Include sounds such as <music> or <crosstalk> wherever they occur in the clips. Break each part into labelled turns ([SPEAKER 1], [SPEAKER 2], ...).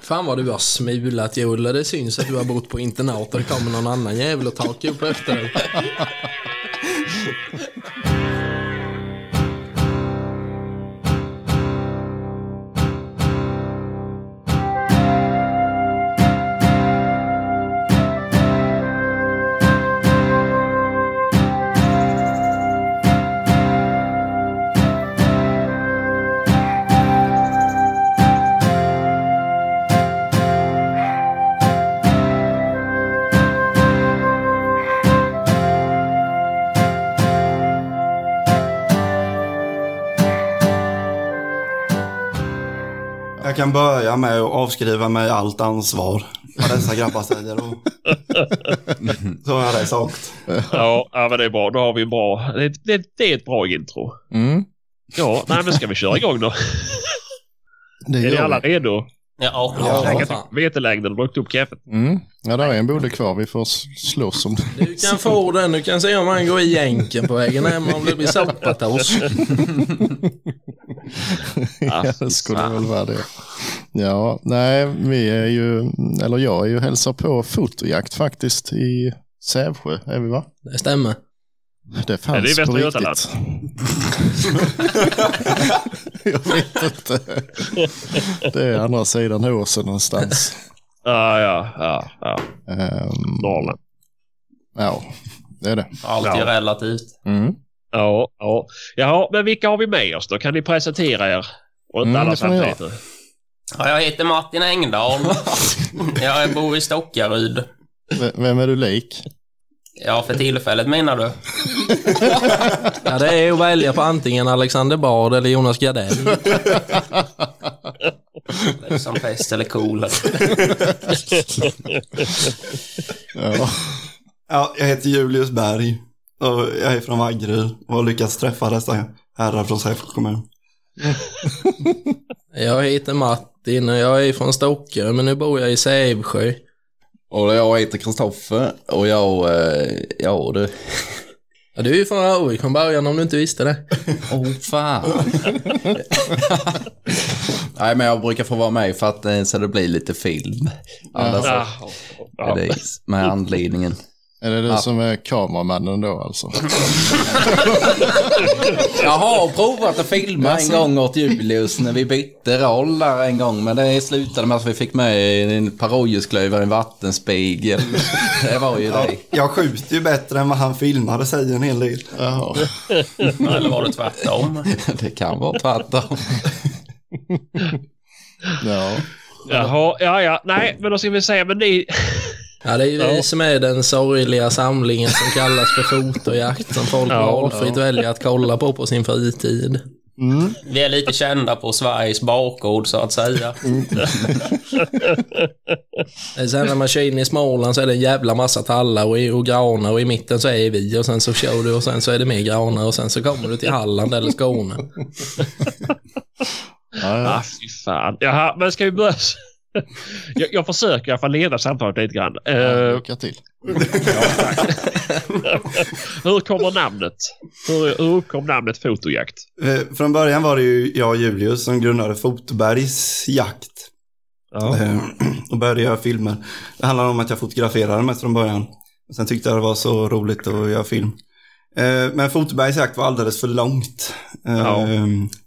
[SPEAKER 1] Fan vad du har smulat Joel. Det syns att du har bott på internat och det kommer någon annan jävel och takar upp efter dig.
[SPEAKER 2] Jag kan börja med att avskriva mig allt ansvar. Vad dessa grabbar säger. Och... Så har jag det sagt.
[SPEAKER 3] Ja, ja, men det är bra. Då har vi en bra... Det, det, det är ett bra intro.
[SPEAKER 4] Mm.
[SPEAKER 3] Ja, nej men ska vi köra igång då?
[SPEAKER 4] <laughs>
[SPEAKER 3] Är ni
[SPEAKER 4] gör
[SPEAKER 3] alla
[SPEAKER 4] vi.
[SPEAKER 3] redo?
[SPEAKER 1] Ja,
[SPEAKER 3] Jag
[SPEAKER 1] ja
[SPEAKER 3] har tagit vetelängden och druckit upp kaffet.
[SPEAKER 4] Mm. Ja, där är en bonde kvar. Vi får s- slåss om det.
[SPEAKER 1] Du kan få den. Du kan se om han går i jänken på vägen hem om det blir sopatos.
[SPEAKER 4] <laughs> Ja, det skulle väl vara det. Ja, nej, vi är ju, eller jag är ju hälsar på fotojakt faktiskt i Sävsjö, är vi va?
[SPEAKER 1] Det stämmer.
[SPEAKER 4] Det
[SPEAKER 3] Är det i
[SPEAKER 4] fanns på
[SPEAKER 3] Västra Götaland?
[SPEAKER 4] riktigt. <laughs> jag vet inte. Det är andra sidan åsen någonstans.
[SPEAKER 3] Ja, ja, ja. ja.
[SPEAKER 4] Ehm,
[SPEAKER 3] Norrland.
[SPEAKER 4] ja, det är det.
[SPEAKER 5] Allt
[SPEAKER 3] Ja.
[SPEAKER 5] är relativt.
[SPEAKER 4] Mm.
[SPEAKER 3] Ja, ja. Jaha, men vilka har vi med oss då? Kan ni presentera er? Och inte
[SPEAKER 4] Mm,
[SPEAKER 3] alla
[SPEAKER 4] det får ni göra.
[SPEAKER 3] samtidigt. nu.
[SPEAKER 5] Ja, jag heter Martin Engdahl.
[SPEAKER 3] <laughs>
[SPEAKER 5] jag bor i Stockaryd.
[SPEAKER 4] V- Vem är du lik?
[SPEAKER 5] Ja, för tillfället menar du?
[SPEAKER 1] Ja, det är att välja på antingen Alexander Bard eller Jonas Gardell.
[SPEAKER 5] Liksom pest eller kolera.
[SPEAKER 4] Ja.
[SPEAKER 2] Ja, jag heter Julius Berg. Och jag är från Vaggeryd och har lyckats träffa dessa herrar från Säffle kommun.
[SPEAKER 1] Jag heter Martin och jag är från Stockholm men nu bor jag i Sävsjö.
[SPEAKER 6] Och jag heter Kristoffer och jag, eh, ja du.
[SPEAKER 1] Ja, du är ju från Örnsköldsvik från början om du inte visste det.
[SPEAKER 6] Oh fan. <laughs> Nej men jag brukar få vara med för att eh, så det blir lite film. Annars
[SPEAKER 3] Ja.
[SPEAKER 6] är det med anledningen.
[SPEAKER 4] Är det du som är kameramannen då alltså?
[SPEAKER 6] Jag har provat att filma en gång åt Julius när vi bytte roll där en gång. Men det slutade med att vi fick med en parojusklöver i en <laughs> vattenspegel. Det var ju det. <laughs>
[SPEAKER 2] Jag skjuter ju bättre än vad han filmade, säger en hel del.
[SPEAKER 4] Jaha.
[SPEAKER 5] Eller var det tvärtom?
[SPEAKER 6] Det kan vara tvärtom.
[SPEAKER 4] Ja.
[SPEAKER 3] Jaha, ja, ja. Nej, men då ska vi säga, men ni... <laughs>
[SPEAKER 1] Ja, det är ju vi
[SPEAKER 3] Ja.
[SPEAKER 1] som är den sorgliga samlingen som kallas för fotojakt som folk
[SPEAKER 3] Ja.
[SPEAKER 1] valfritt väljer att kolla på på sin fritid.
[SPEAKER 4] Mm.
[SPEAKER 5] Vi är lite kända på Sveriges bakgård, så att säga.
[SPEAKER 1] Sen när man kör in i Småland så är det en jävla massa tallar och, och granar och i mitten så är vi och sen så kör du och sen så är det mer granar och sen så kommer du till Halland eller Skåne.
[SPEAKER 4] Ja, ja.
[SPEAKER 3] Ah, fy fan. Jaha, men ska vi börja? <laughs> jag, jag försöker i alla fall leda samtalet lite grann. Eh,
[SPEAKER 4] Lycka till.
[SPEAKER 3] hur kommer namnet? Hur, hur uppkom namnet Fotojakt?
[SPEAKER 2] Eh, Från början var det ju jag och Julius som grundade Fotbergs jakt.
[SPEAKER 3] Ja.
[SPEAKER 2] Eh, Och började göra filmer. Det handlade om att jag fotograferade mest från början. Sen tyckte jag det var så roligt att göra film. Eh, Men Fotbergs jakt var alldeles för långt. Eh,
[SPEAKER 3] Ja.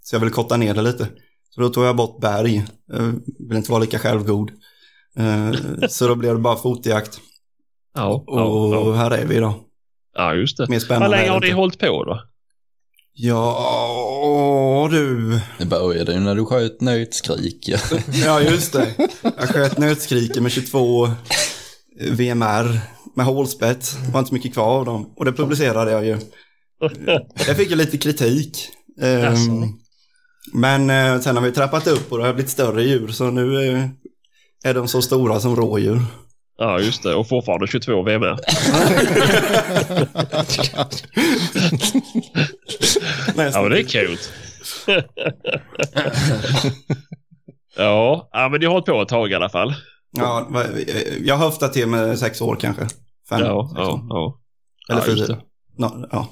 [SPEAKER 2] Så jag ville korta ner det lite. Så då tog jag bort berg. Jag ville inte vara lika självgod. Eh, Så då blev det bara fotjakt.
[SPEAKER 3] Ja, ja, ja.
[SPEAKER 2] Och här är vi idag.
[SPEAKER 3] ja, just det.
[SPEAKER 2] Mer
[SPEAKER 3] Hur
[SPEAKER 2] spännande.
[SPEAKER 3] länge
[SPEAKER 2] är
[SPEAKER 3] har
[SPEAKER 2] det
[SPEAKER 3] ni
[SPEAKER 2] inte.
[SPEAKER 3] hållit på då?
[SPEAKER 2] Ja, du.
[SPEAKER 6] Det började ju när du sköt nötskrik. ja.
[SPEAKER 2] Ja, just det. Jag sköt nötskriken med 22 VMR med hålspett. Det var inte så mycket kvar av dem. Och det publicerade jag ju. Jag fick ju lite kritik. Ehm,
[SPEAKER 3] Jaså.
[SPEAKER 2] Men eh, sen har vi trappat upp och det har blivit större djur. Så nu eh, är de så stora som rådjur.
[SPEAKER 3] Ja, just det. Och fortfarande 22 VMR. Ja,
[SPEAKER 2] Nästan.
[SPEAKER 3] men det är kul. <laughs> ja, ja, men ni har hållit på ett tag i alla fall.
[SPEAKER 2] Ja, va- eh, jag höftar till med sex år kanske. Fem,
[SPEAKER 3] Ja,
[SPEAKER 2] sex
[SPEAKER 3] ja,
[SPEAKER 2] år.
[SPEAKER 3] ja.
[SPEAKER 2] Eller
[SPEAKER 3] ja, just
[SPEAKER 2] fyra.
[SPEAKER 3] det.
[SPEAKER 2] Nå- Ja.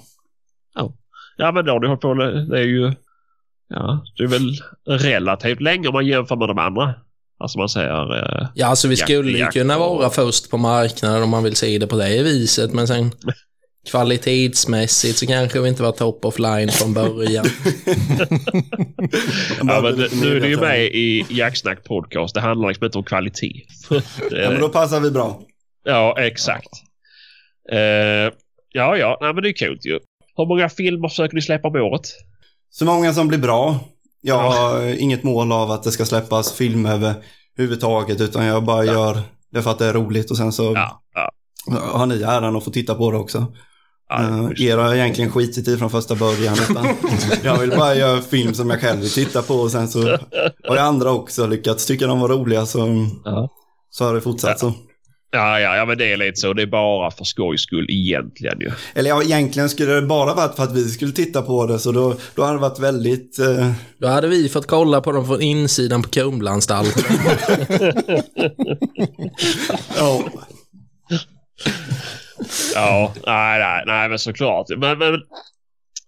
[SPEAKER 3] Ja, men då har ni hållit på. Det är ju... Ja, det är väl relativt länge om man jämför med de andra. Alltså man säger... eh,
[SPEAKER 1] Ja, alltså vi skulle ju
[SPEAKER 3] Jakt-
[SPEAKER 1] kunna
[SPEAKER 3] jakt och-
[SPEAKER 1] vara först på marknaden om man vill se det på det viset, men sen kvalitetsmässigt så kanske vi inte var top of line från början.
[SPEAKER 3] Ja, men det- nu är du ju med i Jacksnack podcast. Det handlar liksom inte om kvalitet. <laughs> Det är-
[SPEAKER 2] Ja, men då passar vi bra.
[SPEAKER 3] ja, exakt. Eh, ja, ja, nej, men det är kul ju. Hur många filmer försöker ni släppa om året?
[SPEAKER 2] Så många som blir bra. Jag har inget mål av att det ska släppas film överhuvudtaget utan jag bara gör det för att det är roligt och sen så
[SPEAKER 3] Ja, ja.
[SPEAKER 2] har ni äran att få titta på det också.
[SPEAKER 3] ja,
[SPEAKER 2] Eh,
[SPEAKER 3] just-
[SPEAKER 2] er har jag egentligen skitit i från första början. Utan
[SPEAKER 3] <laughs>
[SPEAKER 2] jag vill bara göra film som jag själv vill titta på och sen så har jag andra också lyckats. Tycker de var roliga så,
[SPEAKER 3] Ja.
[SPEAKER 2] så har det fortsatt så.
[SPEAKER 3] ja, ja, ja, men det är lite så. Det är bara för skojs skull egentligen ju.
[SPEAKER 2] Eller ja, egentligen skulle det bara varit för att vi skulle titta på det så då, då hade det varit väldigt... Eh,
[SPEAKER 1] Då hade vi fått kolla på dem från insidan på Kumlaanstalten.
[SPEAKER 2] ja.
[SPEAKER 3] Ja, nej, nej, nej, men såklart. Men, men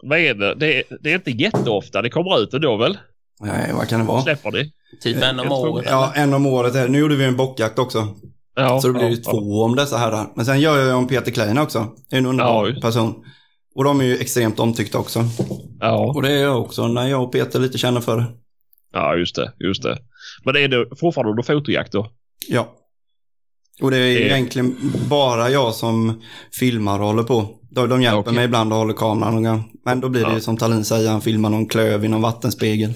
[SPEAKER 3] vad är det? det? Det är inte jätteofta det kommer ut ändå väl?
[SPEAKER 2] Nej, vad kan det vara?
[SPEAKER 3] Släpper ni?
[SPEAKER 5] Typ en om
[SPEAKER 3] jag tror-
[SPEAKER 5] året.
[SPEAKER 2] Ja, en om året. Här. Nu gjorde vi en bockjakt också.
[SPEAKER 3] Ja,
[SPEAKER 2] Så det blir
[SPEAKER 3] ja,
[SPEAKER 2] ju två om dessa herrar. Men sen gör jag ju om Peter Klein också. En underbar
[SPEAKER 3] Ja, just.
[SPEAKER 2] person. Och de är ju extremt omtyckta också.
[SPEAKER 3] Ja,
[SPEAKER 2] Och det är jag också när jag och Peter lite känner för det.
[SPEAKER 3] ja, just det. Just det. Men är det fortfarande under fotojakt då?
[SPEAKER 2] Ja. Och det är
[SPEAKER 3] Det-
[SPEAKER 2] egentligen bara jag som filmar och håller på. De, de hjälper
[SPEAKER 6] Okej.
[SPEAKER 2] mig ibland och håller kameran. någon gång. Men då blir det
[SPEAKER 3] Ja.
[SPEAKER 2] ju som Talin säger, han filmar någon klöv i någon
[SPEAKER 3] <laughs>
[SPEAKER 2] vattenspegel.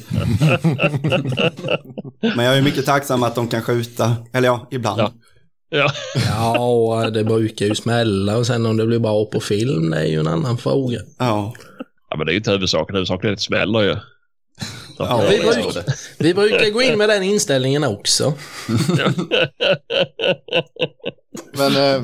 [SPEAKER 2] Men jag är ju mycket tacksam att de kan skjuta. Eller ja, ibland.
[SPEAKER 3] Ja. Ja,
[SPEAKER 1] Ja, det brukar ju smälla och sen om det blir bra på film, det är ju en annan fråga.
[SPEAKER 2] ja.
[SPEAKER 3] ja men det är ju inte huvudsaken. Huvudsaken är att det smäller ju.
[SPEAKER 2] Ja,
[SPEAKER 1] Vi, bruk, vi brukar gå in med den inställningen också.
[SPEAKER 4] Men eh,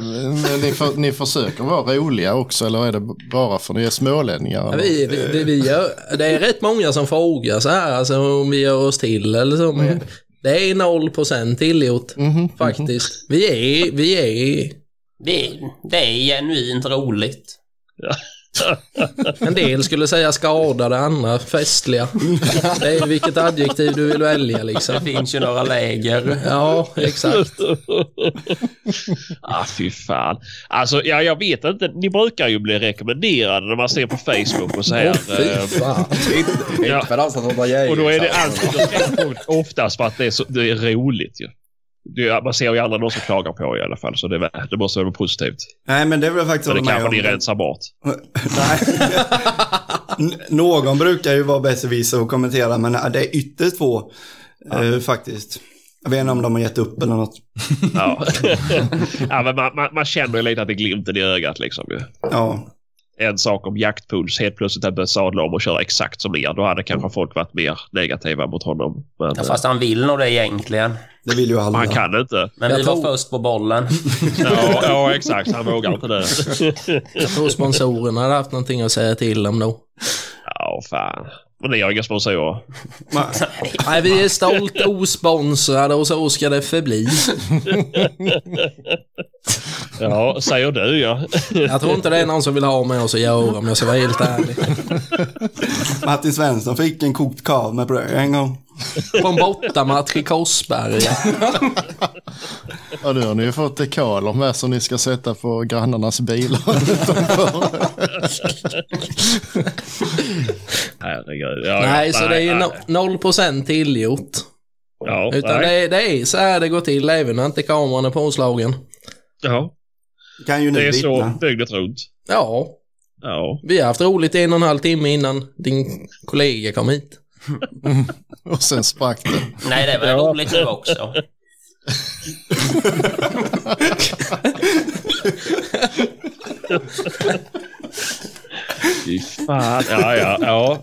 [SPEAKER 4] ni, för, ni försöker vara roliga också eller är det bara för att ni är smålänningar? eller?
[SPEAKER 1] Vi, vi, det, vi gör, det är rätt många som frågar så här, alltså om vi gör oss till eller så. men Det är 0% tillgjort,
[SPEAKER 4] Mhm.
[SPEAKER 1] faktiskt. Vi är, vi är
[SPEAKER 5] Det, det är genuint roligt.
[SPEAKER 1] En del skulle säga skadade, andra festliga. Det är vilket adjektiv du vill välja
[SPEAKER 5] Det
[SPEAKER 1] liksom.
[SPEAKER 5] finns ju några läger.
[SPEAKER 1] Ja, exakt.
[SPEAKER 3] ah, fy fan. Alltså, ja, jag vet inte. Ni brukar ju bli rekommenderade när man ser på Facebook och så här.
[SPEAKER 1] Åh fy
[SPEAKER 3] eh,
[SPEAKER 1] fan.
[SPEAKER 3] Ja.
[SPEAKER 6] Inte för dansat åt vad jag är.
[SPEAKER 3] Och då är det alltid oftast för att det är, så, det är roligt ju. Det, man ser ju aldrig någon som klagar på er i alla fall, så det, det måste vara positivt.
[SPEAKER 2] Nej, men det vill jag faktiskt
[SPEAKER 3] Men det
[SPEAKER 2] hålla med om.
[SPEAKER 3] kanske
[SPEAKER 2] <laughs>
[SPEAKER 3] ni rensar bort.
[SPEAKER 2] Nej. N- Någon brukar ju vara besserwisser och kommentera, men äh, det är ytterst få eh, faktiskt. Jag vet inte om de har gett upp eller något.
[SPEAKER 3] Ja. <laughs> ja, men man, man, man känner ju lite att det är glimten i ögat liksom ju.
[SPEAKER 2] Ja,
[SPEAKER 3] En sak om jaktpuls, helt plötsligt hade börjat sadla om och köra exakt som er. Då hade kanske folk varit mer negativa mot honom. Men
[SPEAKER 5] Ja, fast han vill nog det egentligen.
[SPEAKER 2] det vill ju
[SPEAKER 3] eh,
[SPEAKER 2] alla.
[SPEAKER 3] han kan inte.
[SPEAKER 5] Men
[SPEAKER 1] Jag
[SPEAKER 5] vi var
[SPEAKER 1] tror-
[SPEAKER 5] först på bollen.
[SPEAKER 3] <laughs> Ja, ja, exakt. Han vågar inte det.
[SPEAKER 1] Jag tror sponsorerna hade haft någonting att säga till om då.
[SPEAKER 3] Ja, fan. Men ni har inga sponsorer.
[SPEAKER 2] Ma-
[SPEAKER 1] Nej, vi är stolt osponsrade och så ska det förbli.
[SPEAKER 3] Ja, säger du ja.
[SPEAKER 1] Jag tror inte det är någon som vill ha med oss att göra om jag ska vara helt ärlig.
[SPEAKER 2] Martin Svensson fick en kokt korv med bröd en gång.
[SPEAKER 1] På en bortamatch i Korsberga.
[SPEAKER 4] Ja, nu har ni ju fått dekaler med som ni ska sätta på grannarnas bilar. <laughs>
[SPEAKER 3] Herregud. Ja,
[SPEAKER 1] Nej,
[SPEAKER 3] ja.
[SPEAKER 1] så det är ju
[SPEAKER 3] nej.
[SPEAKER 1] no- 0% tillgjort.
[SPEAKER 3] Ja,
[SPEAKER 1] Utan
[SPEAKER 3] nej.
[SPEAKER 1] det är, det är så här det går till även när inte kameran är påslagen.
[SPEAKER 3] Ja,
[SPEAKER 2] Kan ju ni
[SPEAKER 3] det är
[SPEAKER 2] vittna.
[SPEAKER 3] så dygnet runt.
[SPEAKER 1] Ja,
[SPEAKER 3] Ja.
[SPEAKER 1] Vi har haft roligt i en och en halv timme innan din kollega kom hit.
[SPEAKER 4] Och sen sprack det.
[SPEAKER 5] Nej, det var roligt nu också.
[SPEAKER 3] Fy fan. Ja, ja, ja.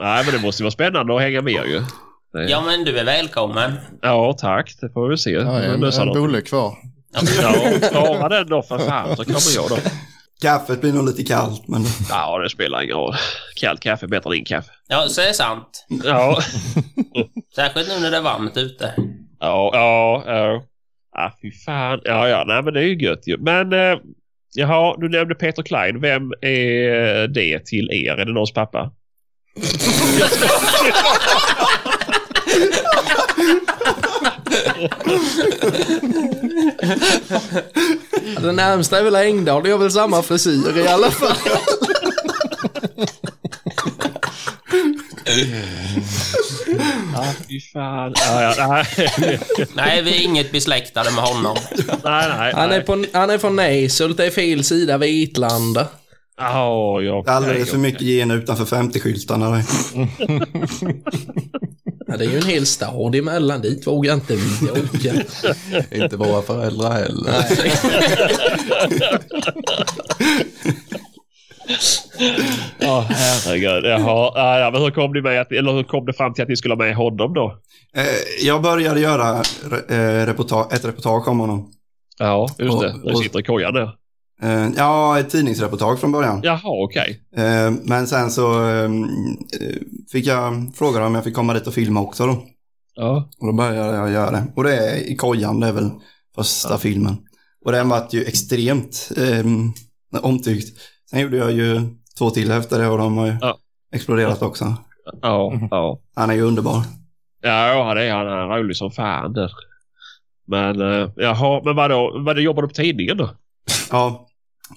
[SPEAKER 3] Nej, men det måste ju vara spännande att hänga med ju. Det-
[SPEAKER 5] Ja, men du är välkommen.
[SPEAKER 3] ja, tack. Det får vi se.
[SPEAKER 4] Ja, en,
[SPEAKER 3] Lösa
[SPEAKER 4] en
[SPEAKER 3] något.
[SPEAKER 4] bulle kvar.
[SPEAKER 3] Ja, klara den då för fan så kommer jag då.
[SPEAKER 2] Kaffet blir nog lite kallt, men
[SPEAKER 3] Ja, det spelar ingen roll. Kallt kaffe är bättre än inget kaffe.
[SPEAKER 5] Ja, så är det sant.
[SPEAKER 3] Ja,
[SPEAKER 5] Särskilt nu när det är varmt ute.
[SPEAKER 3] ja, ja. ja. Ah, fy fan. Ja, ja, nej men det är ju gött ju. Men, eh, jaha, du nämnde Peter Klein. Vem är det till er? Är det någons pappa?
[SPEAKER 1] Den närmsta är väl Engdahl, det är väl samma frisyr i alla
[SPEAKER 3] <laughs>
[SPEAKER 1] fall.
[SPEAKER 3] Ja, fy fan. Ja, ja, nej.
[SPEAKER 5] Nej, vi är inget besläktade med honom.
[SPEAKER 3] nej, nej.
[SPEAKER 1] Han är, på, han är från Näshult, det är fel sida Vitlanda.
[SPEAKER 3] Oh, jag,
[SPEAKER 2] Det är Alldeles för mycket gener utanför 50-skyltarna. det.
[SPEAKER 1] Ja, det är ju en hel stad emellan, dit vågar jag inte vilja åka.
[SPEAKER 6] Inte våra föräldrar heller.
[SPEAKER 3] Ja, herregud. Jaha. Ja, ja, men hur kom, ni med att, eller hur kom det fram till att ni skulle ha med honom då?
[SPEAKER 2] Eh, Jag började göra re- eh, reporta- ett reportage om honom.
[SPEAKER 3] Ja, just
[SPEAKER 2] Och-
[SPEAKER 3] det. Du
[SPEAKER 2] och-
[SPEAKER 3] sitter i kojan där.
[SPEAKER 2] Eh, Ja, ett tidningsreportage från början.
[SPEAKER 3] Jaha, okej.
[SPEAKER 2] Eh, Men sen så eh, eh, fick jag frågan om jag fick komma dit och filma också då.
[SPEAKER 3] Ja.
[SPEAKER 2] Och då började jag göra det. Och det är i kojan, det är väl första filmen. Och den vart ju extremt eh, omtyckt. Sen gjorde jag ju två till efter det och de har ju
[SPEAKER 3] Ja.
[SPEAKER 2] exploderat också.
[SPEAKER 3] Ja, ja.
[SPEAKER 2] Han är ju underbar.
[SPEAKER 3] Ja, han är, han är rolig som fan där. Men uh, jaha, men vadå, vadå, jobbar du på tidningen då?
[SPEAKER 2] Ja,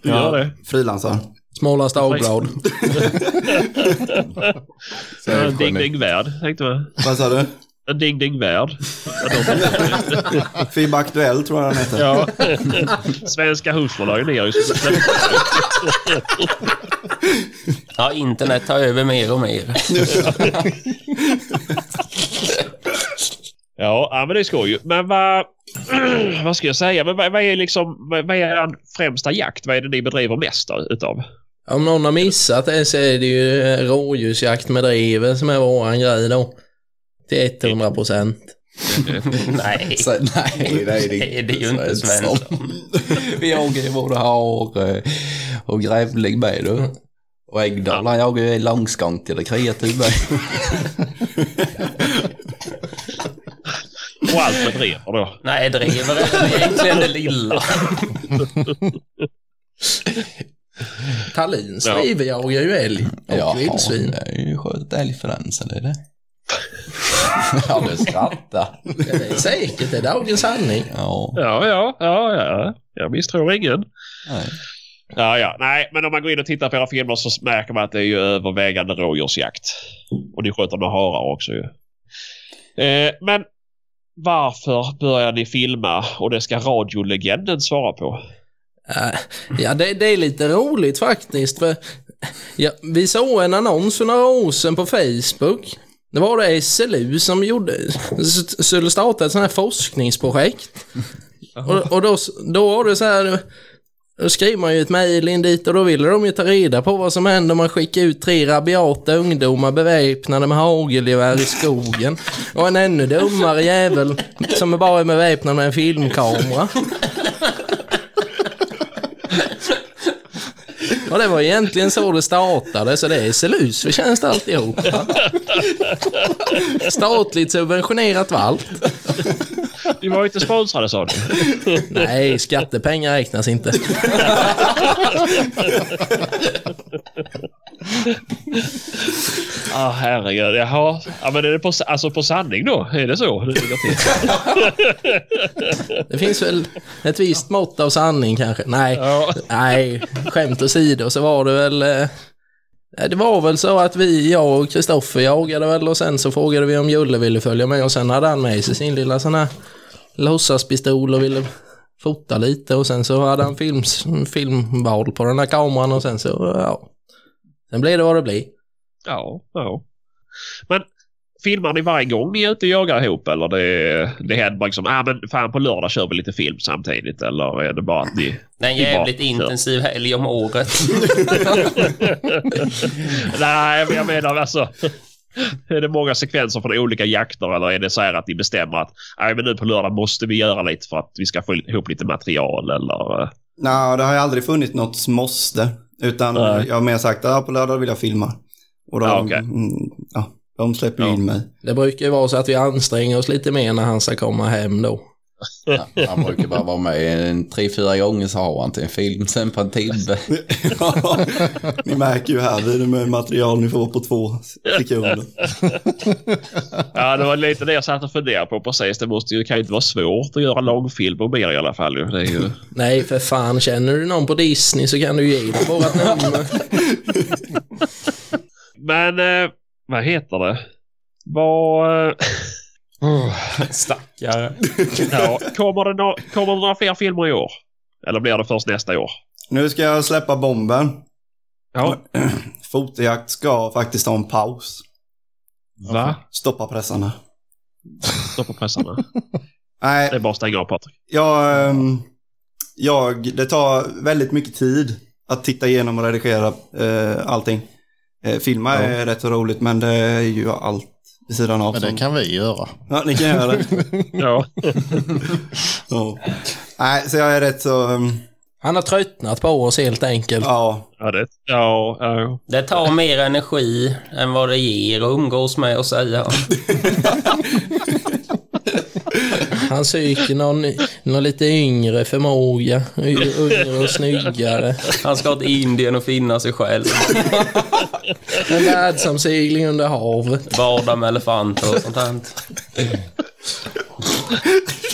[SPEAKER 3] Du
[SPEAKER 2] Ja.
[SPEAKER 3] gör det?
[SPEAKER 2] frilansar.
[SPEAKER 1] Smålands Dagblad.
[SPEAKER 3] En ding ding värld, tänkte man.
[SPEAKER 2] Vad sa
[SPEAKER 3] <laughs>
[SPEAKER 2] du?
[SPEAKER 3] En ding ding värld.
[SPEAKER 2] FIB Aktuell tror jag den heter.
[SPEAKER 3] Ja. <laughs> Svenska husförlagen är ju så-
[SPEAKER 5] Ja, internet tar över mer och mer.
[SPEAKER 3] Ja, ja, men det är skoj ju. Men vad, <clears throat> vad ska jag säga? Men vad, vad är liksom, vad, vad är er främsta jakt? Vad är det ni bedriver mest av- utav?
[SPEAKER 1] Om någon har missat det så är det ju eh, rådjursjakt med drever som är våran grej då. Till 100 procent.
[SPEAKER 5] Nej.
[SPEAKER 6] Så, <laughs> nej, det är det
[SPEAKER 5] Nej, det är ju inte
[SPEAKER 6] Vi jagar ju både hare och grävling med du. Och Engdahl han jagar ju långskank eller kreatur
[SPEAKER 3] <laughs>
[SPEAKER 6] med.
[SPEAKER 3] Och allt med drever då?
[SPEAKER 5] Nej, driver är väl egentligen det lilla.
[SPEAKER 1] Tallins
[SPEAKER 3] Ja.
[SPEAKER 1] driver jagar ju älg och
[SPEAKER 6] Jaha,
[SPEAKER 1] vildsvin.
[SPEAKER 6] Det är ju sköt älg för den, så det
[SPEAKER 1] <laughs>
[SPEAKER 6] är det. ja, du skrattar.
[SPEAKER 1] Ja, det är säkert, det är dagens sanning.
[SPEAKER 6] Ja,
[SPEAKER 3] Ja, ja, ja, ja. Jag misstror ingen.
[SPEAKER 6] nej.
[SPEAKER 3] Ja, ja. Nej, men om man går in och tittar på era filmer så märker man att det är ju övervägande rådjursjakt. Och ni sköter med harar också ju. Eh, men varför börjar ni filma och det ska radiolegenden svara på?
[SPEAKER 1] Äh, Ja, det, det är lite roligt faktiskt. För, ja, vi såg en annons för några år sedan på Facebook. Det var det SLU som gjorde, s- skulle starta ett sånt här forskningsprojekt. Och, och då, s- då var det så här, då skriver man ju ett mejl in dit och då ville de ju ta reda på vad som händer om man skickar ut tre rabiata ungdomar beväpnade med hagelgevär i skogen. Och en ännu dummare jävel som är bara är beväpnad med en filmkamera. Och det var egentligen så det startade, så det är SLUs förtjänst alltihop. Statligt subventionerat var allt.
[SPEAKER 3] Ni var ju inte sponsrade sa du.
[SPEAKER 1] Nej, skattepengar räknas inte.
[SPEAKER 3] Ja, ah, herregud. Jaha. Ja, men är det på, alltså på sanning då? Är det så? Det ligger till.
[SPEAKER 1] Det finns väl ett visst mått av sanning kanske. Nej,
[SPEAKER 3] Ja.
[SPEAKER 1] nej, skämt åsido så var det väl... eh, Det var väl så att vi, jag och Kristoffer jagade väl och sen så frågade vi om Julle ville följa med och sen hade han med sig sin lilla sån här låtsaspistol och ville fota lite och sen så hade han films, filmval på den här kameran och sen så, ja. Sen blev det vad det blev.
[SPEAKER 3] Ja, ja. Men filmar ni varje gång ni är ute och jagar ihop eller det, det händer bara liksom, ah, men fan på lördag kör vi lite film samtidigt eller är det bara att ni...
[SPEAKER 5] Det är en jävligt intensiv helg om året.
[SPEAKER 3] Nej, men jag menar alltså. Är det många sekvenser från olika jakter eller är det så här att ni bestämmer att nej, men nu på lördag måste vi göra lite för att vi ska få ihop lite material eller... eh,
[SPEAKER 2] Nej, det har ju aldrig funnits något måste. Utan
[SPEAKER 3] Nej.
[SPEAKER 2] jag har mer sagt att ah, på lördag vill jag filma. Och de,
[SPEAKER 3] Ja, okej.
[SPEAKER 2] mm, ja, de släpper ju
[SPEAKER 3] Ja.
[SPEAKER 2] in mig.
[SPEAKER 3] <laughs>
[SPEAKER 1] Det brukar ju vara så att vi anstränger oss lite mer när han ska komma hem då.
[SPEAKER 6] Ja, Han brukar bara vara med en tre, fyra gånger så har han till en film, sen på en tibbe.
[SPEAKER 2] Ja, ni märker ju här, vi är med material ni får på två sekunder.
[SPEAKER 3] Ja, det var lite det jag satt och funderade på precis. Det, måste ju, det kan ju inte vara svårt att göra långfilm och mer i alla fall. ju. <laughs> Det är ju...
[SPEAKER 1] Nej, för fan. Känner du någon på Disney så kan du ge dem bara ett nummer.
[SPEAKER 3] Men eh, vad heter det? Vad... eh,
[SPEAKER 5] Stackare.
[SPEAKER 3] ja, kommer, det nå- kommer det några fler filmer i år? Eller blir det först nästa år?
[SPEAKER 2] Nu ska jag släppa bomben.
[SPEAKER 3] Ja.
[SPEAKER 2] Fotojakt ska faktiskt ha en paus.
[SPEAKER 3] Va?
[SPEAKER 2] Stoppa pressarna.
[SPEAKER 3] Stå på pressarna.
[SPEAKER 2] Nej,
[SPEAKER 3] Det är bara att stänga av Patrik.
[SPEAKER 2] Jag, ehm, jag, det tar väldigt mycket tid att titta igenom och redigera eh, allting. Eh, filma är rätt så roligt men det är ju allt vid sidan av.
[SPEAKER 4] Men det
[SPEAKER 2] som-
[SPEAKER 4] kan vi göra.
[SPEAKER 2] Ja, ni kan göra det. <laughs>
[SPEAKER 3] Ja.
[SPEAKER 2] Ja. Nej, så jag är rätt så... ehm,
[SPEAKER 1] Han har tröttnat på oss helt enkelt.
[SPEAKER 2] ja,
[SPEAKER 3] Ja, det, ja, ja.
[SPEAKER 5] Det tar mer energi än vad det ger att umgås med och säga.
[SPEAKER 1] Han söker någon, någon lite yngre förmåga. Y- Yngre och snyggare.
[SPEAKER 5] Han ska till Indien och finna sig själv.
[SPEAKER 1] En världsomsegling under havet.
[SPEAKER 5] Bada med elefanter och sånt här.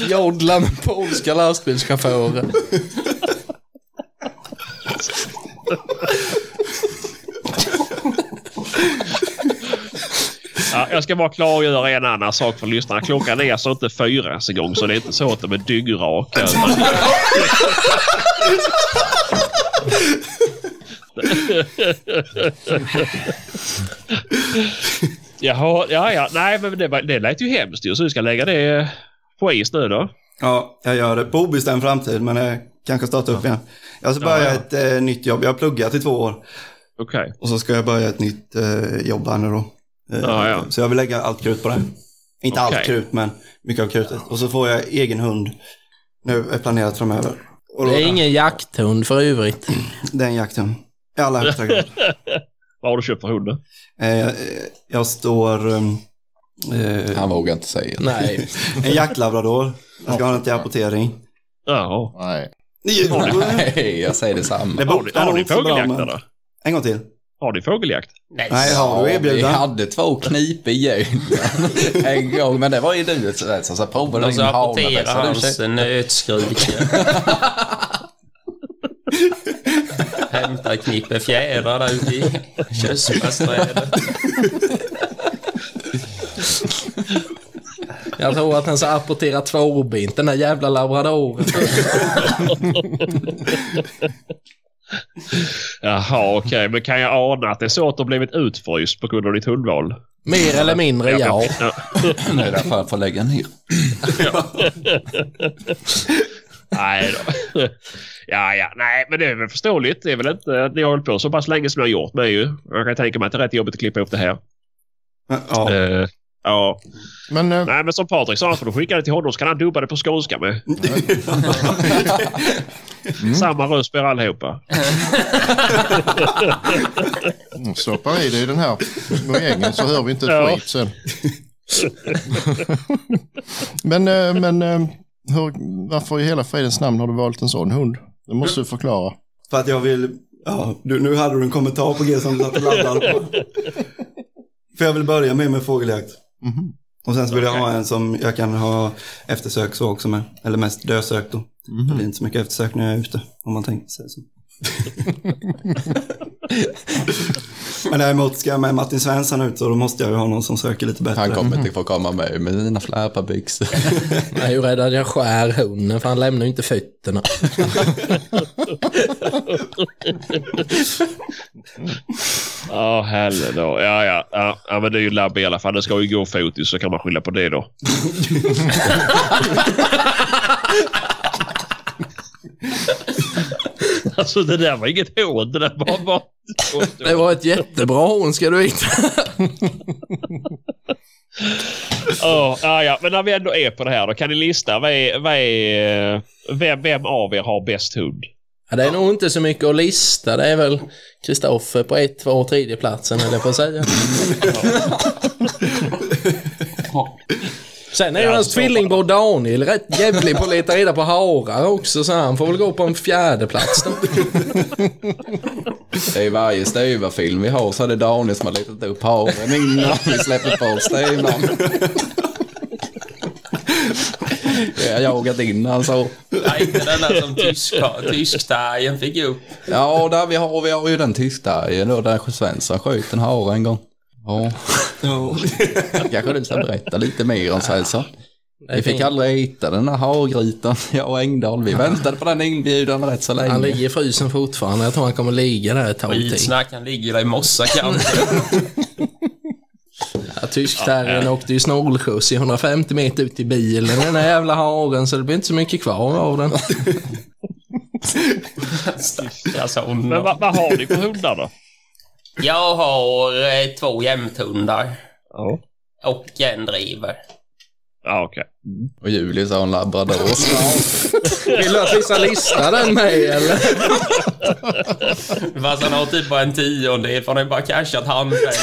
[SPEAKER 1] Jodla med polska lastbilschaufförer.
[SPEAKER 3] Ja, jag ska bara klargöra en annan sak för lyssnarna. Klockan är alltså inte fyra ens en gång, så det är inte så att de är dyngraka. utan- Jaha, ja, ja. Nej, men det, var- det lät ju hemskt ju, så vi ska lägga det på is nu då.
[SPEAKER 2] ja, jag gör det på obestämd framtid men det kanske startar upp igen. Jag ska börja ett eh, nytt jobb. Jag har pluggat i två år
[SPEAKER 3] Okej.
[SPEAKER 2] och så ska jag börja ett nytt eh, jobb här nu då. Eh,
[SPEAKER 3] Ja, ja.
[SPEAKER 2] Så jag vill lägga allt krut på det. Inte
[SPEAKER 3] Okej.
[SPEAKER 2] allt krut, men mycket av krutet. Och så får jag egen hund. Nu är planerat framöver. Och då,
[SPEAKER 1] Det är ingen jakthund för övrigt.
[SPEAKER 2] Det är en jakthund. I allra högsta grad.
[SPEAKER 3] Vad har du köpt för hund då?
[SPEAKER 2] Eh, jag- jag står... ehm, Eh,
[SPEAKER 6] Han vågar inte säga det.
[SPEAKER 1] Nej.
[SPEAKER 2] en jaktlabrador. Jag ska ha den till apportering.
[SPEAKER 3] Jaha.
[SPEAKER 4] Nej.
[SPEAKER 6] Nej, jag säger detsamma.
[SPEAKER 2] Det
[SPEAKER 3] Har ni,
[SPEAKER 2] borde
[SPEAKER 3] har ni
[SPEAKER 2] också bra,
[SPEAKER 3] fågeljakt
[SPEAKER 2] men-
[SPEAKER 3] då?
[SPEAKER 2] En gång till.
[SPEAKER 3] Har ni fågeljakt?
[SPEAKER 2] Nej, har du
[SPEAKER 6] vi
[SPEAKER 2] erbjudande?
[SPEAKER 6] hade två knip i julen en gång, men det var ju du som sa provade
[SPEAKER 5] De
[SPEAKER 6] din
[SPEAKER 5] ska
[SPEAKER 6] hane.
[SPEAKER 5] Alltså, apportera
[SPEAKER 6] Så du
[SPEAKER 5] hans
[SPEAKER 6] köpte-
[SPEAKER 5] nötskrik. <laughs> Hämta ett knippe fjädrar där ute i körsbärsträdet.
[SPEAKER 1] Jag tror att han ska apportera tvåbent, den där jävla labradoren.
[SPEAKER 3] Jaha, okej. Men kan jag ana att det är så att de blivit utfryst på grund av ditt hundval?
[SPEAKER 1] Mer eller mindre, ja.
[SPEAKER 3] Ja.
[SPEAKER 6] Det är därför jag får lägga ner.
[SPEAKER 3] Nej då. Ja, ja, nej, men det är väl förståeligt. Det är väl inte, ni har hållit på så pass länge som ni har gjort med ju. Jag kan tänka mig att det är rätt jobbigt att klippa ihop det här.
[SPEAKER 2] Ja.
[SPEAKER 3] Eh, ja.
[SPEAKER 4] Men eh,
[SPEAKER 3] Nej, men som Patrik sa, får du skicka det till honom så kan han dubba det på skånska med. Samma röst på er allihopa.
[SPEAKER 4] stoppa i dig den här mojängen så hör vi inte ett
[SPEAKER 3] Ja.
[SPEAKER 4] skit sen. men eh, men eh, hur, varför i hela fridens namn har du valt en sån hund? Det måste du förklara.
[SPEAKER 2] För att jag vill... Ja, du, nu hade du en kommentar på G som du satt och laddade
[SPEAKER 6] <laughs>
[SPEAKER 2] på. För jag vill börja med med fågeljakt.
[SPEAKER 4] Mhm.
[SPEAKER 2] Och sen så vill jag ha en som jag kan ha eftersök så också med. Eller mest dösök då.
[SPEAKER 6] Mhm.
[SPEAKER 2] Det blir inte så mycket eftersök när jag är ute. Om man tänker sig
[SPEAKER 6] <laughs>
[SPEAKER 2] så. Men däremot ska jag med Martin Svensson ut så då måste jag ju ha någon som söker lite bättre.
[SPEAKER 6] Han kommer inte få komma med med
[SPEAKER 3] <laughs>
[SPEAKER 6] sina flärpabyxor.
[SPEAKER 1] Jag är ju rädd att jag skär hunden, för han lämnar ju inte fötterna.
[SPEAKER 3] Ja, helle då. Ja, ja, ja. Ja, men det är ju labb i alla fall. Det ska ju gå fotis så kan man skylla på det då. <laughs> alltså det där var inget hån. Det där var bara...
[SPEAKER 1] Det var ett jättebra horn, ska du veta.
[SPEAKER 3] Ja, ja, ja, men när vi ändå är på det här då. Kan ni lista vad är, vad är, eh, vem, vem av er har bäst hund?
[SPEAKER 1] Ja, det är nog inte så mycket att lista. Det är väl Kristoffer på ett, två och tredje platsen, eller på att säga. Sen är ju hans tvillingbror Daniel rätt jävlig på att leta reda på harar också, så han får väl gå på en fjärde plats då.
[SPEAKER 6] Det är ju varje styvarfilm vi har så är det Daniel som har letat upp haren innan vi släpper på styvaren.
[SPEAKER 3] <laughs>
[SPEAKER 6] Jag har jagat in han så.
[SPEAKER 5] Nej, inte den där som tyska- tysktajen fick upp.
[SPEAKER 6] Ja, där vi har, vi har ju den tyskdagen då där Svensson sköt en hare en gång. Ja,
[SPEAKER 2] Ja.
[SPEAKER 6] kanske du ska berätta lite mer om Svensson. Vi fick
[SPEAKER 1] fint.
[SPEAKER 6] aldrig hitta den här hargrytan, <laughs> jag och Engdahl. Vi väntade på den inbjudan rätt så
[SPEAKER 1] Han
[SPEAKER 6] länge.
[SPEAKER 1] ligger i frysen fortfarande. Jag tror han kommer ligga där ett tag till.
[SPEAKER 5] Skitsnack, han ligger där i mossa kanske.
[SPEAKER 1] Ja, Tyskterriern åkte ju snålskjuts i 150 meter ut i bilen, den där jävla haren, så det blir inte så mycket kvar av den.
[SPEAKER 5] Stackars
[SPEAKER 3] Men
[SPEAKER 5] honom.
[SPEAKER 3] vad, vad har ni för hundar då?
[SPEAKER 5] Jag har eh, två jämthundar
[SPEAKER 3] Ja.
[SPEAKER 5] och en driver.
[SPEAKER 3] Ja, okej.
[SPEAKER 6] Och Julius har en labrador.
[SPEAKER 1] Vill du att vi ska lista den med eller?
[SPEAKER 5] Fast han har typ bara en tiondel för han har ju bara cashat handpengen.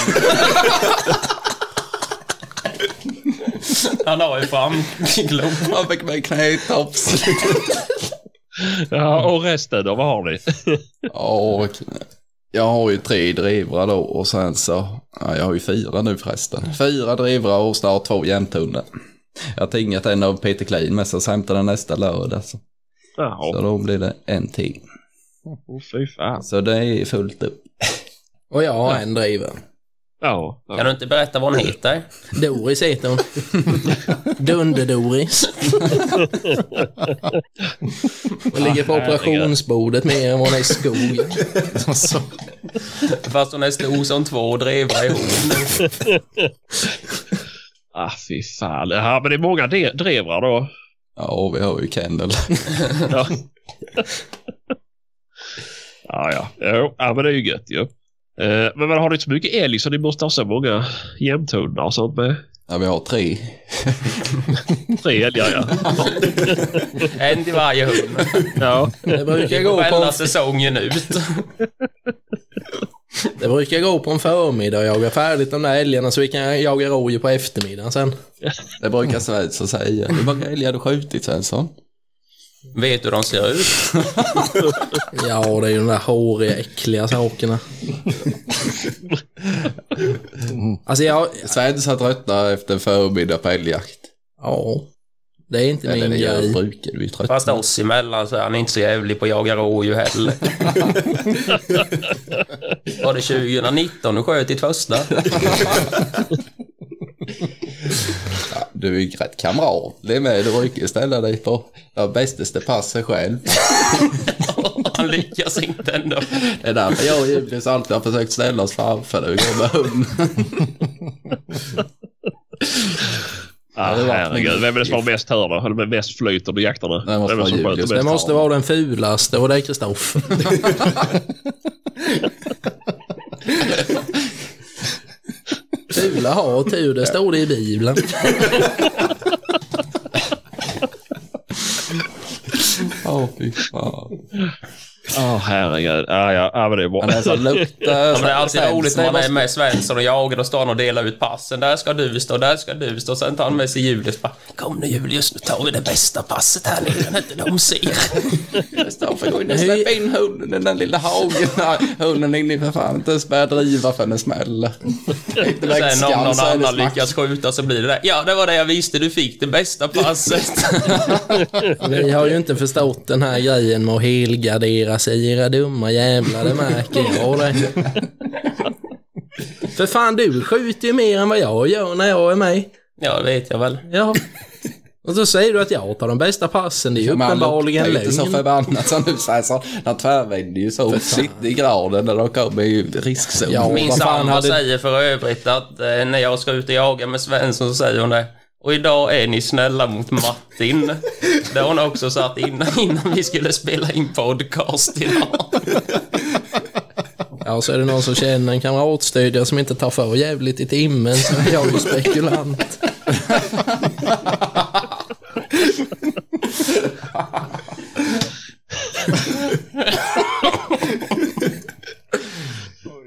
[SPEAKER 5] Han har ju framglopp.
[SPEAKER 6] <laughs> Han fick med knätops.
[SPEAKER 3] Ja, och resten då? Vad har ni?
[SPEAKER 6] <laughs> Ja, och jag har ju tre drivrar då och sen så, ja, jag har ju fyra nu förresten. Fyra drivrar och snart två jämthundar. Jag har tingat en av Peter Klein med sig och hämtar den nästa lördag. Så. så
[SPEAKER 3] Jaha,
[SPEAKER 6] då blir det en till.
[SPEAKER 3] oh, fy fan.
[SPEAKER 6] Så det är fullt upp.
[SPEAKER 1] Och jag har en driver.
[SPEAKER 3] Ja,
[SPEAKER 5] Kan
[SPEAKER 3] ja.
[SPEAKER 5] du inte berätta vad hon heter?
[SPEAKER 1] Doris heter hon. Dunder-Doris. Och ligger på operationsbordet mer än vad hon är i skogen.
[SPEAKER 4] Alltså,
[SPEAKER 5] Fast hon är stor som två drivare ihop.
[SPEAKER 3] Ah, fy fan. Ja, men det är många de- drevrar då.
[SPEAKER 6] Ja, och vi har ju kennel.
[SPEAKER 3] Ja. ja, ja. Jo, ja, men det är ju gött ju. Eh, Men man har inte så mycket älg så ni måste ha så många jämthundar och sånt med.
[SPEAKER 6] <laughs> Ja, vi har tre.
[SPEAKER 3] Tre älgar
[SPEAKER 6] <laughs>
[SPEAKER 3] ja.
[SPEAKER 5] En till varje hund.
[SPEAKER 3] ja.
[SPEAKER 1] Det brukar, gå på
[SPEAKER 5] Varenda
[SPEAKER 1] en,
[SPEAKER 5] säsongen ut.
[SPEAKER 1] det brukar gå på en förmiddag och jaga färdigt de där älgarna så vi kan jaga rådjur på eftermiddagen sen.
[SPEAKER 6] Det brukar Svensson säga. Hur många älgar har du skjutit Svensson?
[SPEAKER 5] Vet du hur de ser ut?
[SPEAKER 1] Ja, det är ju de där håriga, äckliga sakerna. Alltså jag...
[SPEAKER 6] Svensson tröttnar efter en förmiddag på älgjakt.
[SPEAKER 1] Ja. Det är inte
[SPEAKER 6] Eller
[SPEAKER 1] min
[SPEAKER 6] det gör
[SPEAKER 1] grej.
[SPEAKER 6] brukar vi tröttna.
[SPEAKER 5] Fast oss emellan så är han inte så jävlig på att jaga rådjur heller. Var det 2019 du sköt ditt första?
[SPEAKER 6] Du är ju rätt kamratlig med. Du brukar ju ställa dig på ja, bästaste passet själv.
[SPEAKER 5] Han lyckas inte ändå.
[SPEAKER 6] Det är därför jag och Julius alltid har försökt ställa oss framför dig och gå med hunden.
[SPEAKER 3] Ah,
[SPEAKER 6] det var-
[SPEAKER 3] herregud, vem är det som har mest här då? Eller med mest flyt under jakterna?
[SPEAKER 6] Det måste
[SPEAKER 3] vem är det som
[SPEAKER 6] vara
[SPEAKER 3] sköter
[SPEAKER 6] Julius.
[SPEAKER 1] Det
[SPEAKER 3] mest?
[SPEAKER 1] måste vara den fulaste och det är Kristoffer. Fula har tur, det står det i Bibeln.
[SPEAKER 6] Åh fy fan.
[SPEAKER 3] Ja, herregud. Ah, ja, ja, men det är bra.
[SPEAKER 6] Han är så luktar...
[SPEAKER 5] Ja, men det är alltid
[SPEAKER 6] Svensson
[SPEAKER 5] roligt när man är
[SPEAKER 6] måste-
[SPEAKER 5] med Svensson och jagar och står han och delar ut passen. Där ska du stå, där ska du stå. Sen tar han med sig Julius bara, Kom nu Julius, nu tar vi det bästa passet här nu. Kan inte de se?
[SPEAKER 6] Kristoffer, gå in och släpp in hunden i den lilla hagen. Nej, Hunden är inne i för fan inte ens börjar driva förrän den smäller. Inte växt
[SPEAKER 5] Sen om
[SPEAKER 6] skam,
[SPEAKER 5] någon
[SPEAKER 6] så är det
[SPEAKER 5] annan
[SPEAKER 6] smack.
[SPEAKER 5] lyckas skjuta så blir det där. Ja, det var det jag visste. Du fick det bästa passet. <laughs>
[SPEAKER 1] Vi har ju inte förstått den här grejen med att helgardera sig, era dumma jävlar, det märker jag det. För fan, du skjuter ju mer än vad jag gör när jag är med.
[SPEAKER 5] Ja, det vet jag väl.
[SPEAKER 1] Ja. Och så säger du att jag tar de bästa passen, det är ju
[SPEAKER 6] Men han
[SPEAKER 1] uppenbarligen
[SPEAKER 6] luktar ju inte så
[SPEAKER 1] lögn.
[SPEAKER 6] förbannat som du säger. Så han tvärvänder ju så 90 grader när de kommer i riskzon.
[SPEAKER 1] Ja.
[SPEAKER 5] Min
[SPEAKER 1] vad fan
[SPEAKER 5] sambo
[SPEAKER 1] hade-
[SPEAKER 5] säger för övrigt att eh, när jag ska ut och jaga med Svensson så säger hon det. Och idag är ni snälla mot Martin. Det har hon också satt innan, innan vi skulle spela in podcast idag. <laughs>
[SPEAKER 1] Ja, så är det någon som känner en kamratstödjare som inte tar för jävligt i timmen så är jag ju spekulant.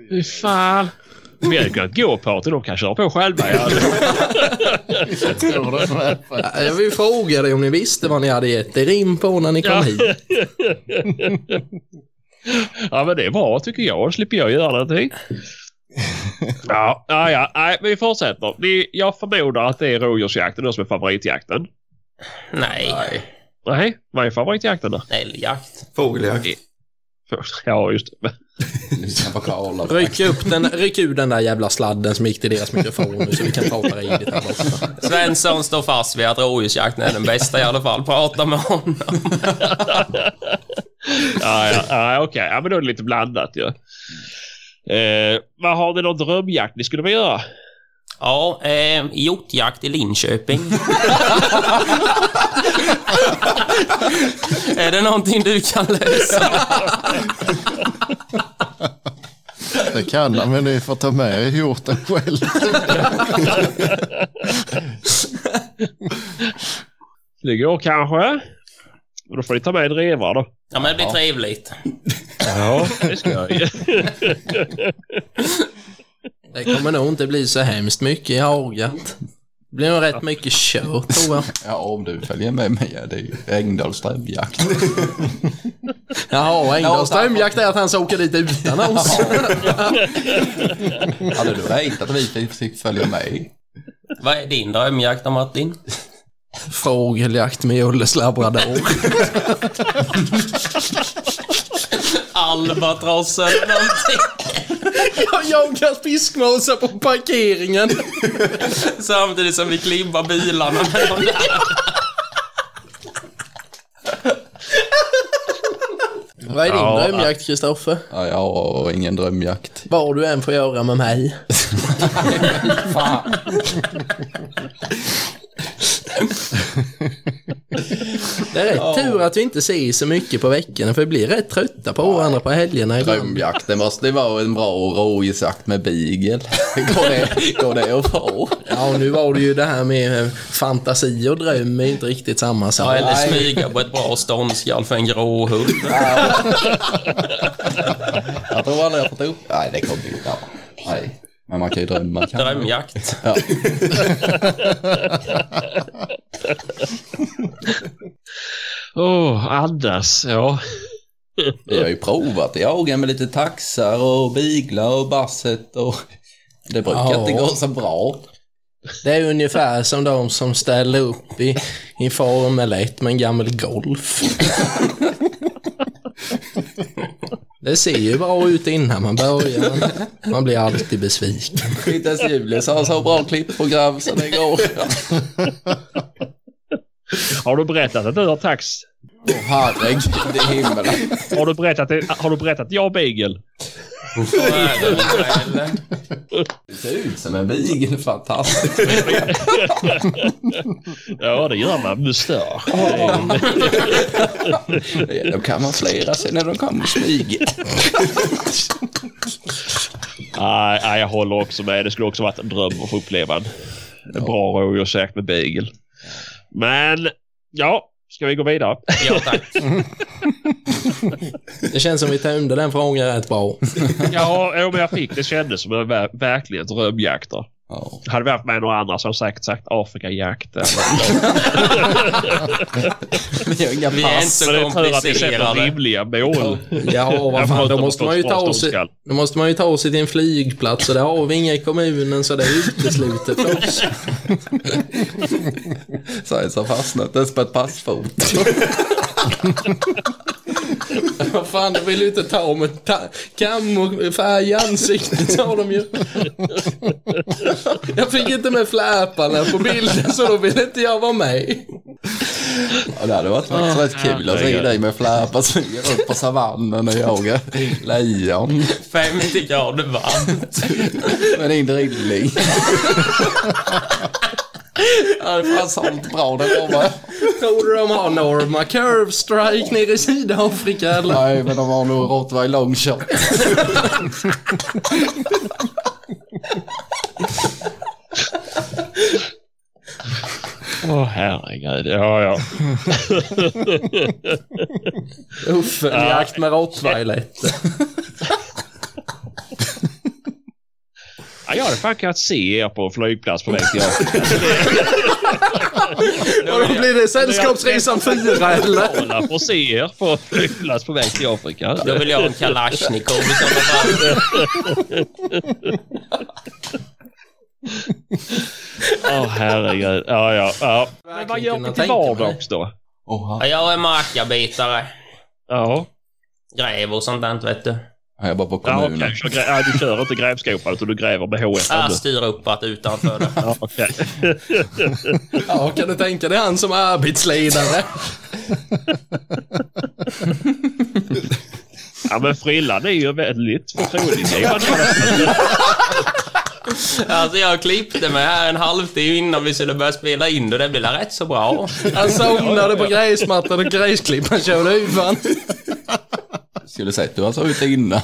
[SPEAKER 3] Fy fan. Vi hade kunnat gå Patrik, de kan köra på själva. Ja.
[SPEAKER 4] Jag tror det med.
[SPEAKER 1] <laughs> Ja, Jag vill fråga dig om ni visste vad ni hade gett er in på när ni kom
[SPEAKER 3] Ja.
[SPEAKER 1] hit.
[SPEAKER 3] <laughs> ja, men det är bra tycker jag. Då slipper jag göra någonting. Ja, ja, ja. Nej, men vi fortsätter. Ni, jag förmodar att det är rådjursjakten då som är favoritjakten.
[SPEAKER 5] Nej,
[SPEAKER 3] Nej, vad är favoritjakten då?
[SPEAKER 5] älgjakt.
[SPEAKER 2] Fågeljakt.
[SPEAKER 3] <laughs> Ja, just det.
[SPEAKER 6] Lyssna på Karl. och-
[SPEAKER 1] Ryck, upp den, ryck ur den där jävla sladden som gick till deras mikrofon nu så vi kan prata redigt här borta.
[SPEAKER 5] Svensson står fast vid att rådjursjakten är den bästa i alla fall. Prata med honom.
[SPEAKER 3] Ja, ja, ja okej. Ja, men då är det lite blandat ju. Eh, vad har ni någon drömjakt ni skulle vilja göra?
[SPEAKER 5] Ja, eh, hjortjakt i <laughs> Linköping. är det någonting du kan lösa?
[SPEAKER 4] Det kan han, men ni får ta med er hjorten själv.
[SPEAKER 3] Det går kanske. Men då får ni ta med en revare då.
[SPEAKER 5] Ja, men det blir trevligt.
[SPEAKER 3] Ja, det ska jag ju.
[SPEAKER 1] Det kommer nog inte bli så hemskt mycket i Hagat. Det blir nog rätt mycket kött tror jag.
[SPEAKER 6] Ja, om du följer med mig. Ja, det är ju Engdahls drömjakt.
[SPEAKER 1] Jaha, Engdahls drömjakt är att han ska åka dit utan oss.
[SPEAKER 6] Hade du räknat att vi fick följa med?
[SPEAKER 5] Vad är din drömjakt då, Martin?
[SPEAKER 1] Fågeljakt med Julles <laughs> labrador.
[SPEAKER 5] Albatross <laughs> eller någonting.
[SPEAKER 1] Jag jagar fiskmåsar på parkeringen.
[SPEAKER 5] Samtidigt som vi klibbar bilarna med dem där.
[SPEAKER 1] Vad är din
[SPEAKER 3] Ja,
[SPEAKER 1] drömjakt, Kristoffer?
[SPEAKER 6] Ja, jag har ingen drömjakt.
[SPEAKER 1] Vad du än får göra med mig.
[SPEAKER 6] Fan.
[SPEAKER 1] Det är rätt tur att vi inte ses så mycket på veckorna för vi blir rätt trötta på varandra på helgerna ibland.
[SPEAKER 6] Drömjakt, det måste vara en bra rådjursjakt med beagle. <laughs> Går det, går det att få?
[SPEAKER 1] Ja, nu var det ju det här med eh, fantasi och dröm är inte riktigt samma sak.
[SPEAKER 5] Ja, eller smyga på ett bra ståndskall för en gråhund.
[SPEAKER 6] Jag tror aldrig jag fått upp. Nej, det kommer inte. Ja. Nej. Men man kan ju drömma. Kan man?
[SPEAKER 5] Drömjakt.
[SPEAKER 6] Ja.
[SPEAKER 3] Åh, andas. Ja.
[SPEAKER 6] Vi har ju provat att jaga med lite taxar och biglar och basset och det brukar
[SPEAKER 1] Ja.
[SPEAKER 6] inte gå så bra.
[SPEAKER 1] Det är ungefär som de som ställer upp i, i Formel 1 med en gammal Golf. Det ser ju bra ut innan man börjar. men Man blir alltid besviken.
[SPEAKER 6] Inte ens Julius har så bra klippprogram så det går.
[SPEAKER 3] Har du berättat att du har tax?
[SPEAKER 6] Åh herregud i himlen.
[SPEAKER 3] Har du berättat, det- har du berättat att jag har beagle?
[SPEAKER 5] Så är det väl, eller?
[SPEAKER 6] Det ser ut som en beagle, fantastiskt.
[SPEAKER 3] Ja, det gör man. Mustasch.
[SPEAKER 6] Då kan man flera sig när de kommer smyga.
[SPEAKER 3] Nej, nej, jag håller också med. Det skulle också varit en dröm att få uppleva en en bra rådjursjakt med beagle. Men, ja. Ska vi gå vidare?
[SPEAKER 5] Ja, tack.
[SPEAKER 1] Det känns som vi tömde den frågan rätt bra.
[SPEAKER 3] Ja, jo, men jag fick det kändes som en ver- verkligen drömjakt. då.
[SPEAKER 6] Ja.
[SPEAKER 3] Hade vi haft med några andra så hade jag säkert sagt
[SPEAKER 1] <laughs>
[SPEAKER 3] Afrikajakt. eller-
[SPEAKER 6] Vi har inga
[SPEAKER 5] Vi är inte
[SPEAKER 6] pass.
[SPEAKER 3] Men det
[SPEAKER 5] så
[SPEAKER 3] är tur att vi sätter
[SPEAKER 5] komplicerade.
[SPEAKER 3] rimliga mål.
[SPEAKER 1] Ja, vad fan, då måste man ju ta sig,
[SPEAKER 3] sig...
[SPEAKER 1] då måste man ju ta sig till en flygplats och det har vi inga i kommunen så det är uteslutet för oss.
[SPEAKER 6] <laughs> Så jag har fastnat ens på ett passfot.
[SPEAKER 1] <laughs> Vad fan, de vill ju inte ta om en ta- kam och färg i ansiktet, sa de ju. Jag fick inte med fläparna på bilden, så då ville inte jag vara med.
[SPEAKER 6] Ja, det hade varit faktiskt rätt kul att se dig med flärpar smyga upp på savannen och jaga lejon
[SPEAKER 5] 50 grader varmt.
[SPEAKER 6] med din drilling. <laughs> Ja, det fanns sånt bra det var bara.
[SPEAKER 1] Tror du de har Norma Curve Strike nere i Sydafrika, eller?
[SPEAKER 6] Nej, men de har nog rottweiler long shot.
[SPEAKER 3] Åh herregud, ja ja.
[SPEAKER 1] Uffeljakt med rottweiler.
[SPEAKER 3] Ja, jag hade fan kunnat se er på en flygplats på väg till Afrika.
[SPEAKER 1] Och då blir det Sällskapsresan 4 eller?
[SPEAKER 3] Betala för att se er på en flygplats på väg till Afrika.
[SPEAKER 5] Då vill jag ha en kalasjnikov i sådana fall.
[SPEAKER 3] Åh herregud. Ja, ja, ja. Men vad gör
[SPEAKER 1] kunna
[SPEAKER 3] ni till
[SPEAKER 1] tänka mig.
[SPEAKER 3] vardags då?
[SPEAKER 6] Oha.
[SPEAKER 5] Ja, Jag är markarbitare.
[SPEAKER 3] Ja,
[SPEAKER 5] Gräver och sånt där, inte vet du.
[SPEAKER 6] Jag jobbar på
[SPEAKER 3] ja
[SPEAKER 6] kommunen.
[SPEAKER 3] okej. Så grä- ja, du kör inte grävskopan utan du gräver med HF.
[SPEAKER 5] Jag styr upp att utanför det.
[SPEAKER 3] <laughs> Ja, okej.
[SPEAKER 1] Ja, kan du tänka dig han som arbetsledare?
[SPEAKER 3] ja men frillan är ju väldigt förtroendeingivande.
[SPEAKER 5] Alltså jag klippte mig här en halvtimme innan vi skulle börja spela in och det blev rätt så bra.
[SPEAKER 1] Han somnade på gräsmattan och gräsklippan körde huvan.
[SPEAKER 6] Skulle sett du har sovit innan.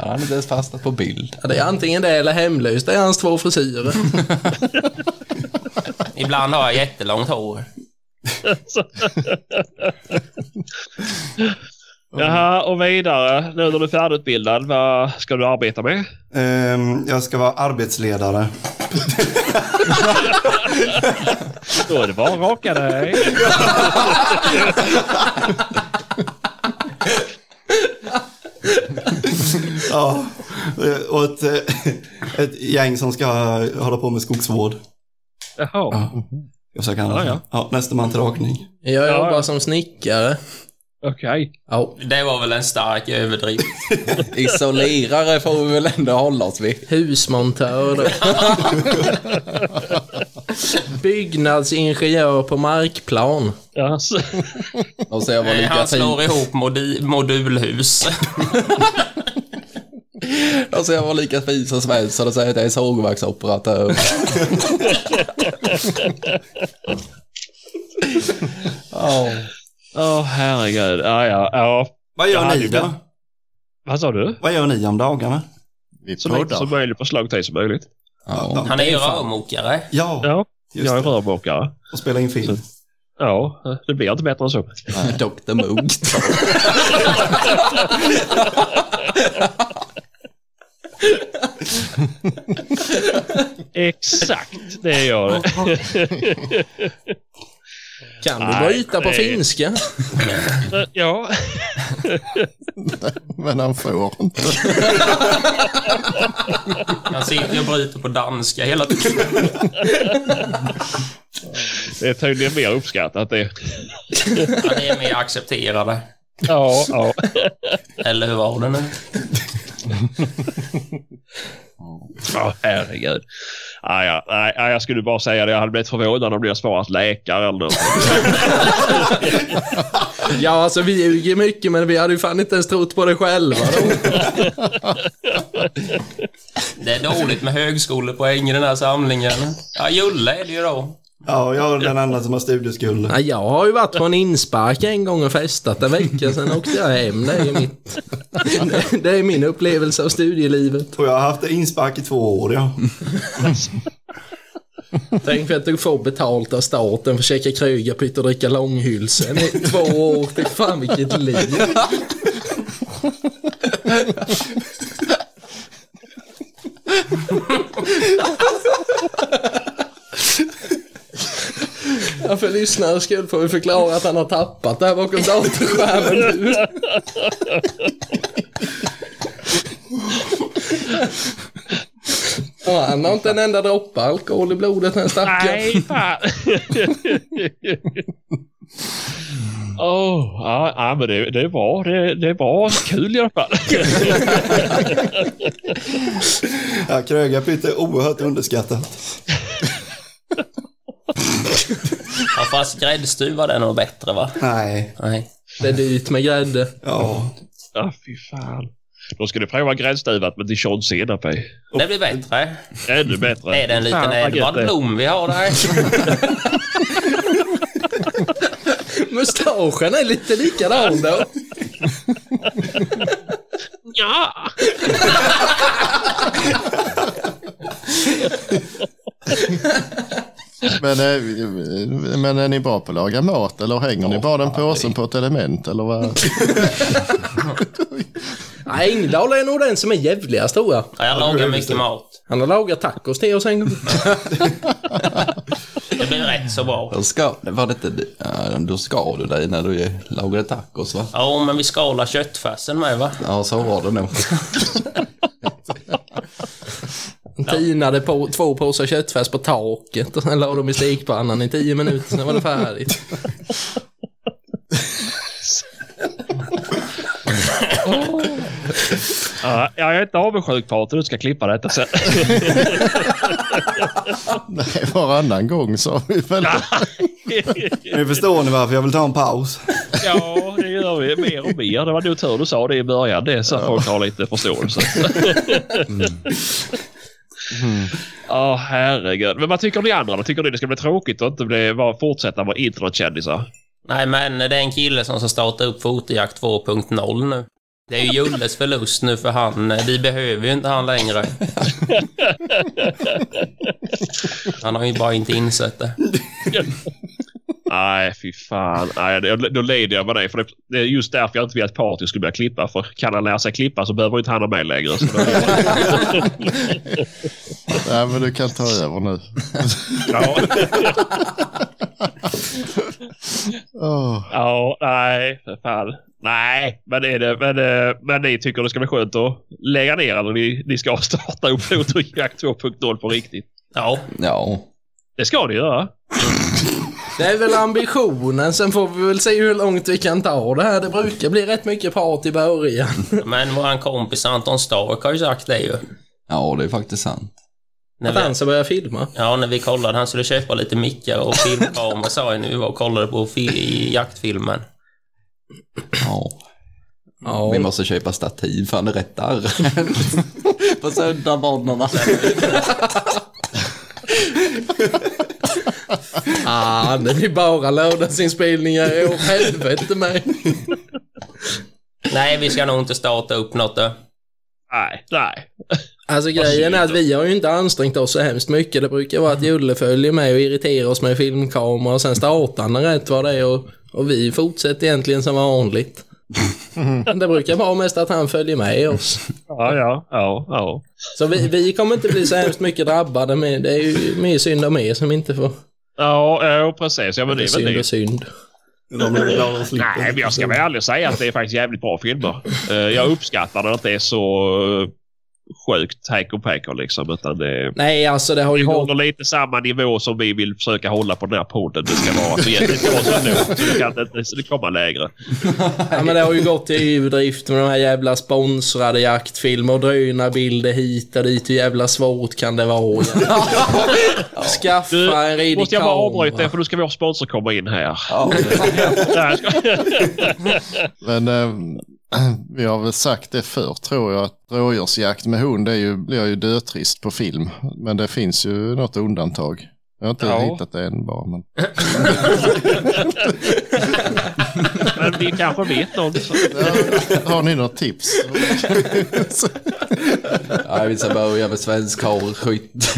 [SPEAKER 6] Han hade inte ens fastnat på bild.
[SPEAKER 1] Ja, det är antingen det eller hemlöst. Det är hans två frisyrer.
[SPEAKER 5] Ibland har jag jättelångt hår.
[SPEAKER 3] Jaha, och vidare. Nu när du är färdigutbildad, vad ska du arbeta med?
[SPEAKER 2] Ehm, jag ska vara arbetsledare.
[SPEAKER 3] Då är det bara att raka dig.
[SPEAKER 2] Ja, eh, och ett, eh, ett gäng som ska hålla på med skogsvård.
[SPEAKER 3] Jaha,
[SPEAKER 2] Jag försöker annars.
[SPEAKER 3] Ja, ja.
[SPEAKER 2] Ja, nästa man till rakning.
[SPEAKER 1] Jag
[SPEAKER 3] Ja,
[SPEAKER 1] jobbar
[SPEAKER 3] ja.
[SPEAKER 1] som snickare.
[SPEAKER 3] okej.
[SPEAKER 1] Ja,
[SPEAKER 5] Det var väl en stark överdrift.
[SPEAKER 6] Isolerare får vi väl ändå hålla oss vid.
[SPEAKER 1] husmontör
[SPEAKER 6] <laughs>
[SPEAKER 1] då. Byggnadsingenjör på markplan.
[SPEAKER 3] Ja, så-
[SPEAKER 6] Och så jag var
[SPEAKER 5] Eh,
[SPEAKER 6] lika
[SPEAKER 5] Han slår
[SPEAKER 6] fin,
[SPEAKER 5] ihop modi- modulhus.
[SPEAKER 6] och så jag var lika fin som Svensson och säger att jag är sågverksoperatör.
[SPEAKER 3] Åh herregud. Ja, ja, ja.
[SPEAKER 2] Vad gör
[SPEAKER 3] Ja,
[SPEAKER 2] ni
[SPEAKER 3] det-
[SPEAKER 2] då?
[SPEAKER 3] Vad sa du?
[SPEAKER 2] Vad gör ni om dagarna?
[SPEAKER 4] Vi
[SPEAKER 3] Så lite som
[SPEAKER 4] poddar.
[SPEAKER 3] möjligt på slagtid som möjligt.
[SPEAKER 6] Ja.
[SPEAKER 5] Han är ju
[SPEAKER 2] Det fan-
[SPEAKER 5] rörmokare.
[SPEAKER 2] Ja,
[SPEAKER 3] Ja,
[SPEAKER 2] just
[SPEAKER 3] jag är
[SPEAKER 2] det.
[SPEAKER 3] rörmokare.
[SPEAKER 2] Och spela in film.
[SPEAKER 3] Ja, det blir inte bättre än så.
[SPEAKER 6] Dr Mugg.
[SPEAKER 3] Exakt, det gör det.
[SPEAKER 1] Kan du
[SPEAKER 3] Nej,
[SPEAKER 1] bryta på
[SPEAKER 3] nej.
[SPEAKER 1] finska?
[SPEAKER 3] Ja,
[SPEAKER 4] Men han får inte.
[SPEAKER 5] Han sitter ju och bryter på danska hela tiden.
[SPEAKER 3] det är tydligen mer uppskattat det.
[SPEAKER 5] Han är mer accepterade.
[SPEAKER 3] Ja, ja. <laughs>
[SPEAKER 5] Eller hur var det nu?
[SPEAKER 3] Åh, herregud. Ah, ja, nej, nej, jag skulle bara säga det. Jag hade blivit förvånad om du hade svarat läkare eller något.
[SPEAKER 1] Ja, alltså vi ljuger mycket men vi hade ju fan inte ens trott på det själva då.
[SPEAKER 5] Det är dåligt med högskolepoäng i den här samlingen. Ja, Julle är det ju då.
[SPEAKER 2] Ja, jag är den enda som har studieskuld.
[SPEAKER 1] Ja, jag har ju varit på en inspark en gång och festat en vecka, sen åkte jag hem. Det är, mitt, det, det är min upplevelse av studielivet.
[SPEAKER 2] Och jag har haft inspark i två år, ja.
[SPEAKER 1] Tänk för att du får betalt av staten för att käka krögarpytt och dricka långhylsen i två år. Fy fan vilket liv. Ja, för lyssnare skull får vi förklara att han har tappat det här bakom datorskärmen nu. Och han har inte en enda droppe alkohol i blodet den stackaren.
[SPEAKER 3] <laughs> Nej, fan. <laughs> Åh, ja, ja, men det, det var det, det var kul i alla fall.
[SPEAKER 2] ja Krögarpytt är oerhört underskattat.
[SPEAKER 5] Ja, fast gräddstuvad är nog bättre va?
[SPEAKER 2] Nej.
[SPEAKER 5] Nej.
[SPEAKER 1] Det är dyrt med grädde.
[SPEAKER 2] Ja.
[SPEAKER 3] Ja, fy fan. Då ska du prova gräddstuvat med dijonsenap i.
[SPEAKER 5] Det blir bättre.
[SPEAKER 3] Ännu bättre.
[SPEAKER 5] Är det en liten
[SPEAKER 3] Fan, vad gött
[SPEAKER 5] Edvard
[SPEAKER 3] det är.
[SPEAKER 5] Blom vi har där?
[SPEAKER 1] Mustaschen är lite likadan då.
[SPEAKER 3] Ja!
[SPEAKER 4] Men, eh, men är ni bra på att laga mat eller hänger ni bara den påsen på ett element eller vad?
[SPEAKER 1] Nej, Engdahl är nog den som är jävligast tror jag.
[SPEAKER 5] Ja, jag lagar mycket mat.
[SPEAKER 1] Han har lagat tacos till oss en gång.
[SPEAKER 5] Det blir rätt så bra.
[SPEAKER 6] Då ska, var det inte, du- ja, då ska du dig när du lagade tacos va?
[SPEAKER 5] Ja, men vi skalar köttfärsen med va?
[SPEAKER 6] Ja, så var det nog.
[SPEAKER 1] Han tinade på två påsar köttfärs på taket och sen la dem i stekpannan i tio minuter, sen var det färdigt.
[SPEAKER 3] Ja, jag är inte avundsjuk på att du ska klippa detta sen.
[SPEAKER 4] Nej, varannan gång sa vi väl.
[SPEAKER 2] Nu förstår ni varför jag vill ta en paus.
[SPEAKER 3] ja, det gör vi mer och mer. Det var nog tur du sa det i början. Det är så att folk har lite förståelse. Mm. Ja, herregud. Men vad tycker ni andra då? Tycker ni det ska bli tråkigt och inte bli, bara fortsätta vara internetkändisar?
[SPEAKER 5] Nej, men det är en kille som ska starta upp Fotojakt 2.0 nu. Det är ju Julles förlust nu för han, eh, vi behöver ju inte han längre. Han har ju bara inte insett det.
[SPEAKER 3] Nej, fy fan. Nej, det- då lider jag med dig. För det, det är just därför jag inte vill att Patrik skulle börja klippa. För kan han lära sig klippa så behöver inte han ha mig längre. Så då,
[SPEAKER 4] Nej, men du kan ta över nu.
[SPEAKER 3] ja,
[SPEAKER 4] Åh,
[SPEAKER 3] ja, nej, för fan. Nej, men, är det, men, eh, men ni tycker det ska bli skönt att lägga ner eller ni, ni ska starta upp Motorjakt 2.0 på riktigt.
[SPEAKER 5] Ja,
[SPEAKER 6] Ja.
[SPEAKER 3] Det ska ni göra.
[SPEAKER 1] Det är väl ambitionen, sen får vi väl se hur långt vi kan ta det här. Det brukar bli rätt mycket prat i början.
[SPEAKER 5] men våran kompis Anton Stark har ju sagt det ju.
[SPEAKER 6] Ja, det är faktiskt sant.
[SPEAKER 5] När
[SPEAKER 1] Att han
[SPEAKER 5] vi,
[SPEAKER 1] ska börja filma.
[SPEAKER 5] ja, när vi kollade, han skulle köpa lite mickar och filmkameror sa jag när vi var och kollade på fi- i jaktfilmen.
[SPEAKER 6] Ja.
[SPEAKER 1] Ja.
[SPEAKER 6] Vi måste köpa stativ för han är rätt arg. <laughs> På söndagsmorgnarna.
[SPEAKER 1] Ah, det blir bara lördagsinspelningar i år. Helvete mig.
[SPEAKER 5] Nej, vi ska nog inte starta upp något då.
[SPEAKER 3] Nej, nej.
[SPEAKER 1] Alltså grejen är att vi har ju inte ansträngt oss så hemskt mycket. Det brukar vara att Julle följer med och irriterar oss med filmkamera och sen startar han rätt vad det är och, och vi fortsätter egentligen som vanligt. Det brukar vara mest att han följer med oss.
[SPEAKER 3] Ja, ja, ja, ja.
[SPEAKER 1] Så vi, vi kommer inte bli så hemskt mycket drabbade. Men det är ju mer synd om er som inte får...
[SPEAKER 3] Ja, ja precis. Ja, men det är väl
[SPEAKER 1] synd
[SPEAKER 3] det.
[SPEAKER 1] och synd.
[SPEAKER 2] De är glada att slippa.
[SPEAKER 3] Nej, men jag ska väl ärligt säga att det är faktiskt jävligt bra
[SPEAKER 6] <laughs>
[SPEAKER 3] filmer. Eh, jag uppskattar när det inte är så uh, sjukt hejkon pejkon liksom. Utan det,
[SPEAKER 1] Nej, alltså det har
[SPEAKER 3] vi
[SPEAKER 1] ju gått
[SPEAKER 3] håller lite samma nivå som vi vill försöka hålla på den här podden. Det ska vara så jävligt bra som lågt, så det kan inte så det komma lägre.
[SPEAKER 1] Ja, men det har ju gått till överdrift med de här jävla sponsrade jaktfilmer och drönarbilder hit och dit. Hur jävla svårt kan det vara?
[SPEAKER 3] Du,
[SPEAKER 1] <laughs> Skaffa en redig
[SPEAKER 3] Måste jag bara avbryta
[SPEAKER 1] kamera.
[SPEAKER 3] dig för nu ska vår sponsor komma in här.
[SPEAKER 6] Ja,
[SPEAKER 3] Nej, jag ska-
[SPEAKER 4] Men eh, vi har väl sagt det förr tror jag att rådjursjakt med hund är ju, blir ju dötrist på film. Men det finns ju något undantag. Jag har inte
[SPEAKER 3] Ja.
[SPEAKER 4] hittat det än bara. Men...
[SPEAKER 3] <laughs> Men vi kanske vet någon.
[SPEAKER 4] <laughs> Har ni något tips?
[SPEAKER 6] Nej, vi ska börja med svensk harskytt.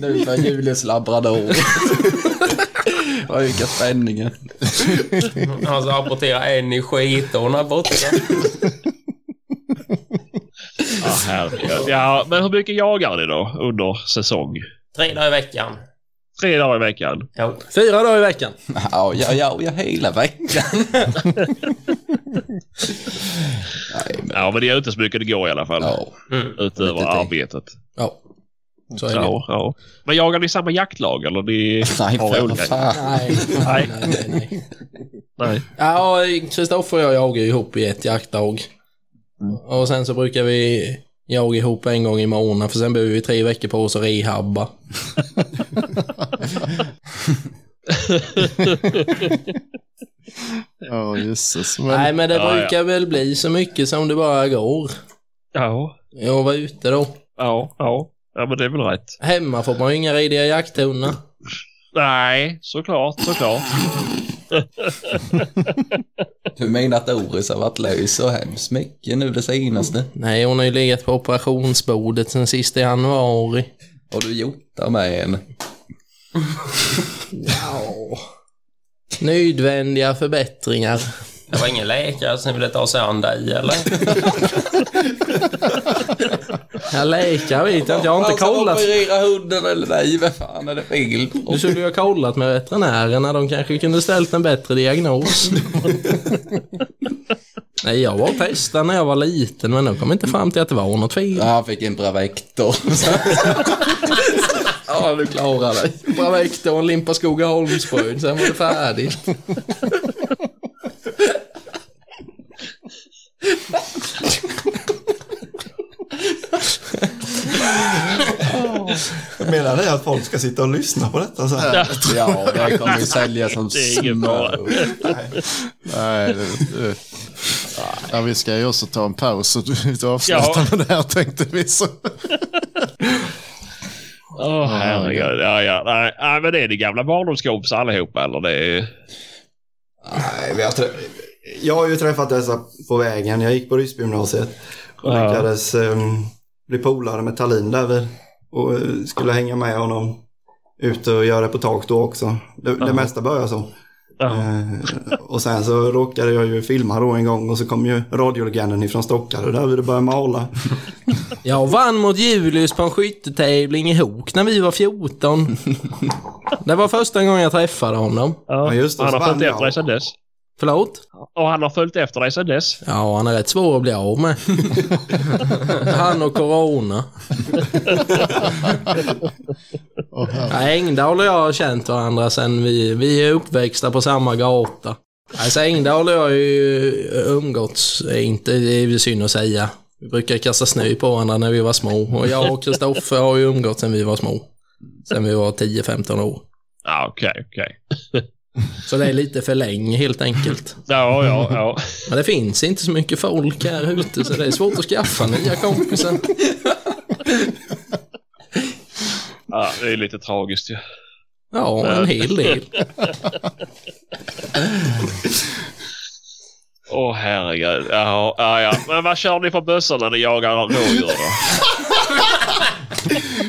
[SPEAKER 6] Nu för Julius labrador. Vad Ökar spänningen.
[SPEAKER 5] Han ska rapportera en i skitorna borta.
[SPEAKER 3] Ja, herregud. ja, men hur mycket jagar ni då under säsong?
[SPEAKER 5] Tre dagar i veckan.
[SPEAKER 3] Tre dagar i veckan?
[SPEAKER 5] Jo.
[SPEAKER 1] Fyra dagar i veckan.
[SPEAKER 6] Ja, ja, ja, ja, hela veckan. Nej, men
[SPEAKER 3] Ja, men det är inte så mycket det går i alla fall.
[SPEAKER 6] ja.
[SPEAKER 5] Mm.
[SPEAKER 3] Utöver
[SPEAKER 6] Lite till.
[SPEAKER 3] arbetet.
[SPEAKER 1] Ja. Så är det.
[SPEAKER 3] Ja, ja. Men jagar ni samma jaktlag
[SPEAKER 2] <laughs>
[SPEAKER 3] eller ni
[SPEAKER 6] Nej,
[SPEAKER 3] har
[SPEAKER 6] för
[SPEAKER 3] olika?
[SPEAKER 6] fan.
[SPEAKER 1] Nej, nej,
[SPEAKER 3] Nej.
[SPEAKER 1] nej. nej.
[SPEAKER 3] Nej.
[SPEAKER 1] Ja, Kristoffer och jag jagar ihop i ett jaktdag. Och sen så brukar vi jaga ihop en gång i månaden för sen behöver vi tre veckor på oss att rehabba.
[SPEAKER 4] Ja, jösses. Men
[SPEAKER 1] Nej, men det
[SPEAKER 3] Ja, ja.
[SPEAKER 1] brukar väl bli så mycket som det bara går.
[SPEAKER 3] Ja,
[SPEAKER 1] Jag var ute då.
[SPEAKER 3] ja, ja. Ja, men det är väl rätt.
[SPEAKER 1] Hemma får man ju inga rediga jakthundar.
[SPEAKER 3] Nej,
[SPEAKER 2] <laughs>
[SPEAKER 3] såklart, såklart.
[SPEAKER 6] Du menar att Doris har varit lös så hemskt mycket nu det senaste?
[SPEAKER 1] Nej, hon har ju legat på operationsbordet sen sista januari.
[SPEAKER 6] Har du gjort det med henne?
[SPEAKER 1] Nödvändiga förbättringar.
[SPEAKER 5] Det var ingen läkare som ville ta sig an dig eller?
[SPEAKER 1] Jag läkar vet jag inte. Jag har inte kollat.
[SPEAKER 6] Alltså, operera hunden eller nej, vad fan är det fel på?
[SPEAKER 1] Du skulle ju ha kollat med veterinärerna. De kanske kunde ställt en bättre diagnos. Nej, jag var testad när jag var liten men de kom inte fram till att det var något fel.
[SPEAKER 6] Ja, han fick en Bravector. ja, du klarar dig. Bravector och en limpa Skogaholmsbröd, sen var det färdigt.
[SPEAKER 2] Menar ni att folk ska sitta och lyssna på detta så här?
[SPEAKER 6] <laughs> Ja, det här kommer ju sälja som
[SPEAKER 3] Det är ingen fara.
[SPEAKER 6] smör.
[SPEAKER 4] Nej, det, det. Ja, vi ska ju också ta en paus <laughs> så vi avslutar
[SPEAKER 3] Ja.
[SPEAKER 4] med det här tänkte vi. <laughs> Så.
[SPEAKER 3] Åh herregud. Ja, ja. Nej, nej, men det är det gamla barndomskompisar allihopa eller? Det är...
[SPEAKER 2] Nej, men jag, trä- jag har ju träffat dessa på vägen. Jag gick på Ryssbygymnasiet och
[SPEAKER 3] Ja.
[SPEAKER 2] lyckades ehm, bli polare med Talin där vi, och eh, skulle hänga med honom ut och göra reportage då också. Det, det mesta började så.
[SPEAKER 3] Ja.
[SPEAKER 2] Eh, och sen så råkade jag ju filma då en gång och så kom ju radiolegenden ifrån Stockare där vi började
[SPEAKER 3] <laughs>
[SPEAKER 2] mala.
[SPEAKER 1] Jag vann mot Julius på en skyttetävling i Hok när vi var 14. Det var första gången jag träffade honom.
[SPEAKER 2] Ja, just det,
[SPEAKER 3] han
[SPEAKER 2] så
[SPEAKER 3] har följt
[SPEAKER 2] vann jag.
[SPEAKER 3] efter dig sedan dess.
[SPEAKER 1] Förlåt?
[SPEAKER 3] Och han har följt efter dig sedan dess.
[SPEAKER 1] Ja, han är rätt svår att bli av med. Han och corona.
[SPEAKER 4] Och här.
[SPEAKER 1] Ja, Engdahl och jag har känt varandra sen vi, vi är uppväxta på samma gata. Alltså Engdahl och jag har ju umgåtts, eh, inte det är ju synd att säga. Vi brukar kasta snö på varandra när vi var små och jag och Kristoffer har ju umgåtts sen vi var små. Sen vi var 10-15 år.
[SPEAKER 3] Ja, okej, okej.
[SPEAKER 1] Så det är lite för länge helt enkelt.
[SPEAKER 3] Ja, ja,
[SPEAKER 2] <laughs>
[SPEAKER 3] ja.
[SPEAKER 1] Men det finns inte så mycket folk här ute så det är svårt att skaffa nya kompisar.
[SPEAKER 3] ja. Det är lite tragiskt ju.
[SPEAKER 1] Ja, en hel del.
[SPEAKER 3] Åh herregud. Ja, ja, ja. Men vad kör ni för bössor när ni jagar rådjur då?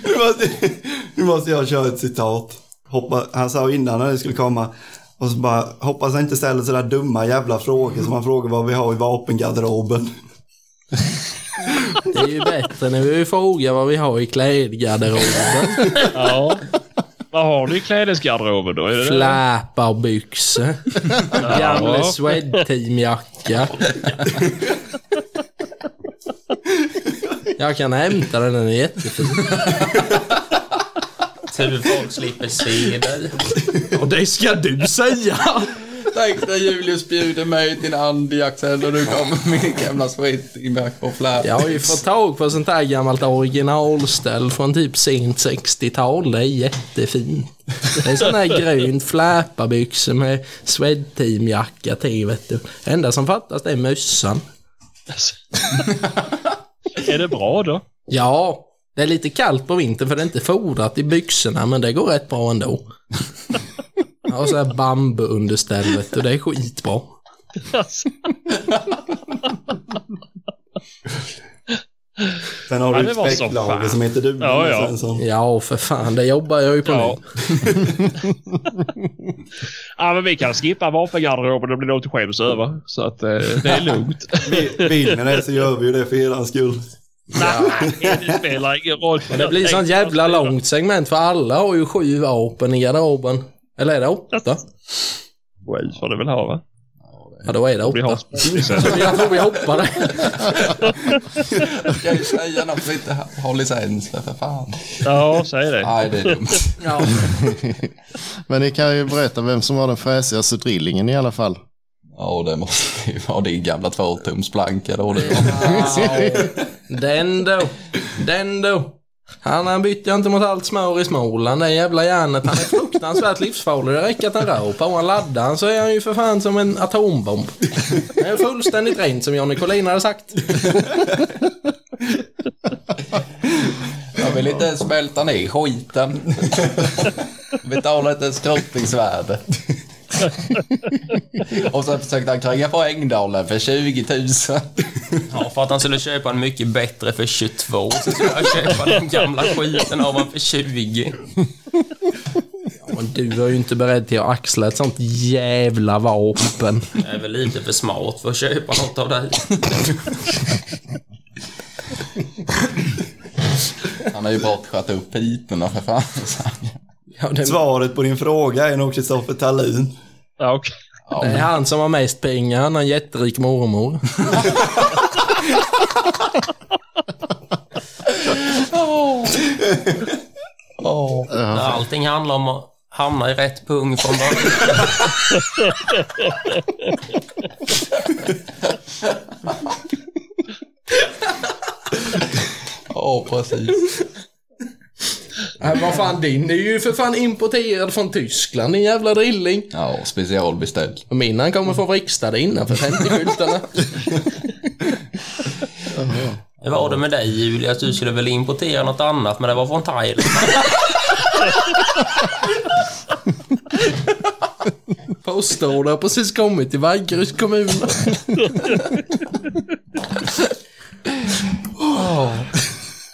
[SPEAKER 2] Nu måste, nu måste jag köra ett citat. Hoppa, han sa innan när det skulle komma. Och så bara, hoppas han inte ställer sådana dumma jävla frågor som han frågar vad vi har i vapengarderoben.
[SPEAKER 1] Det är ju bättre när vi frågar vad vi har i klädgarderoben.
[SPEAKER 3] Ja. Vad har ni i klädesgarderoben då? Är det det?
[SPEAKER 1] Fläparbyxor. Gamle Swedteam-jacka. Jag kan hämta den, den är jättefin.
[SPEAKER 5] Tur folk slipper se dig.
[SPEAKER 1] Och det ska du säga!
[SPEAKER 6] Tänk när Julius bjuder mig till en andjakt och du kommer med din gamla spritinback på flärp.
[SPEAKER 1] Jag har ju fått tag på sånt här gammalt originalställ från typ sent 60-tal. Det är jättefint. Det är sån här grön fläparbyxor med Swedteam-jacka till, vet du. Det enda som fattas det är mössan.
[SPEAKER 3] Är det bra då?
[SPEAKER 1] Ja, det är lite kallt på vintern för det är inte fodrat i byxorna men det går rätt bra ändå. Jag har så här bambuunderställ vet du, det är skitbra.
[SPEAKER 3] Alltså,
[SPEAKER 2] Sen har
[SPEAKER 3] Ja,
[SPEAKER 2] du
[SPEAKER 3] det
[SPEAKER 2] ett
[SPEAKER 3] var så
[SPEAKER 2] späcklager
[SPEAKER 3] fan.
[SPEAKER 2] som heter duga.
[SPEAKER 3] Ja, ja.
[SPEAKER 2] Svensson.
[SPEAKER 1] Ja, för fan, det jobbar jag ju på
[SPEAKER 3] Ja.
[SPEAKER 1] nu.
[SPEAKER 3] <laughs> ja, men vi kan skippa vapengarderoben om det låter skäms över. Så att eh, det är <laughs> lugnt.
[SPEAKER 2] Vill ni det så gör vi ju det för er skull.
[SPEAKER 3] Nej, det spelar ingen roll.
[SPEAKER 1] Men det blir sånt jävla långt segment för alla har ju sju vapen i garderoben. Eller är det åtta?
[SPEAKER 3] Sju får du väl ha va?
[SPEAKER 1] Ja, då är det
[SPEAKER 3] Vi har
[SPEAKER 1] åtta. Jag tror vi hoppar det.
[SPEAKER 6] kan ju säga något vi inte ha- har licens för, för fan.
[SPEAKER 3] Ja, säg det.
[SPEAKER 6] Nej, det är dumt.
[SPEAKER 1] Ja.
[SPEAKER 4] Men ni kan ju berätta vem som var den fräsigaste drillingen i alla fall.
[SPEAKER 6] Ja, det måste ju vara din gamla tvåtumsplanka då. Det
[SPEAKER 1] Den då. Den då. Han, han bytte ju inte mot allt smör i Småland, det jävla järnet. Han är fruktansvärt livsfarlig. Det räcker att han rör på honom, laddar han så är han ju för fan som en atombomb. Det är fullständigt rent som Johnny Collin hade sagt.
[SPEAKER 6] Jag vill inte ens smälta ner skiten. Betala inte ens skrotningsvärdet. Och sen försökte han kränga på Ängdalen för 20 000.
[SPEAKER 5] Ja, för att han skulle köpa en mycket bättre för 22 så skulle han köpa den gamla skiten av honom för 20.
[SPEAKER 1] Men du var ju inte beredd till att axla ett sånt jävla vapen.
[SPEAKER 5] Jag är väl lite för smart för att köpa något av dig.
[SPEAKER 6] Han har ju bortskjutit upp piporna för fan. sa han.
[SPEAKER 1] Ja, det,
[SPEAKER 2] Svaret på din fråga är nog Kristoffer Tallin.
[SPEAKER 3] Ja, okej.
[SPEAKER 1] det är han som har mest pengar. Han har en jätterik mormor.
[SPEAKER 5] Där allting handlar om att hamna i rätt pung från början.
[SPEAKER 6] Ja, precis.
[SPEAKER 1] Äh, vad fan, din är ju för fan importerad från Tyskland, din jävla drilling.
[SPEAKER 6] Ja, specialbeställd.
[SPEAKER 1] Och min han kommer från Rikstad innanför 50-skyltarna.
[SPEAKER 5] Hur var det med dig Julia? Du skulle väl importera något annat men det var från Thailand.
[SPEAKER 1] Postorder har precis kommit till Vaggeryds kommun.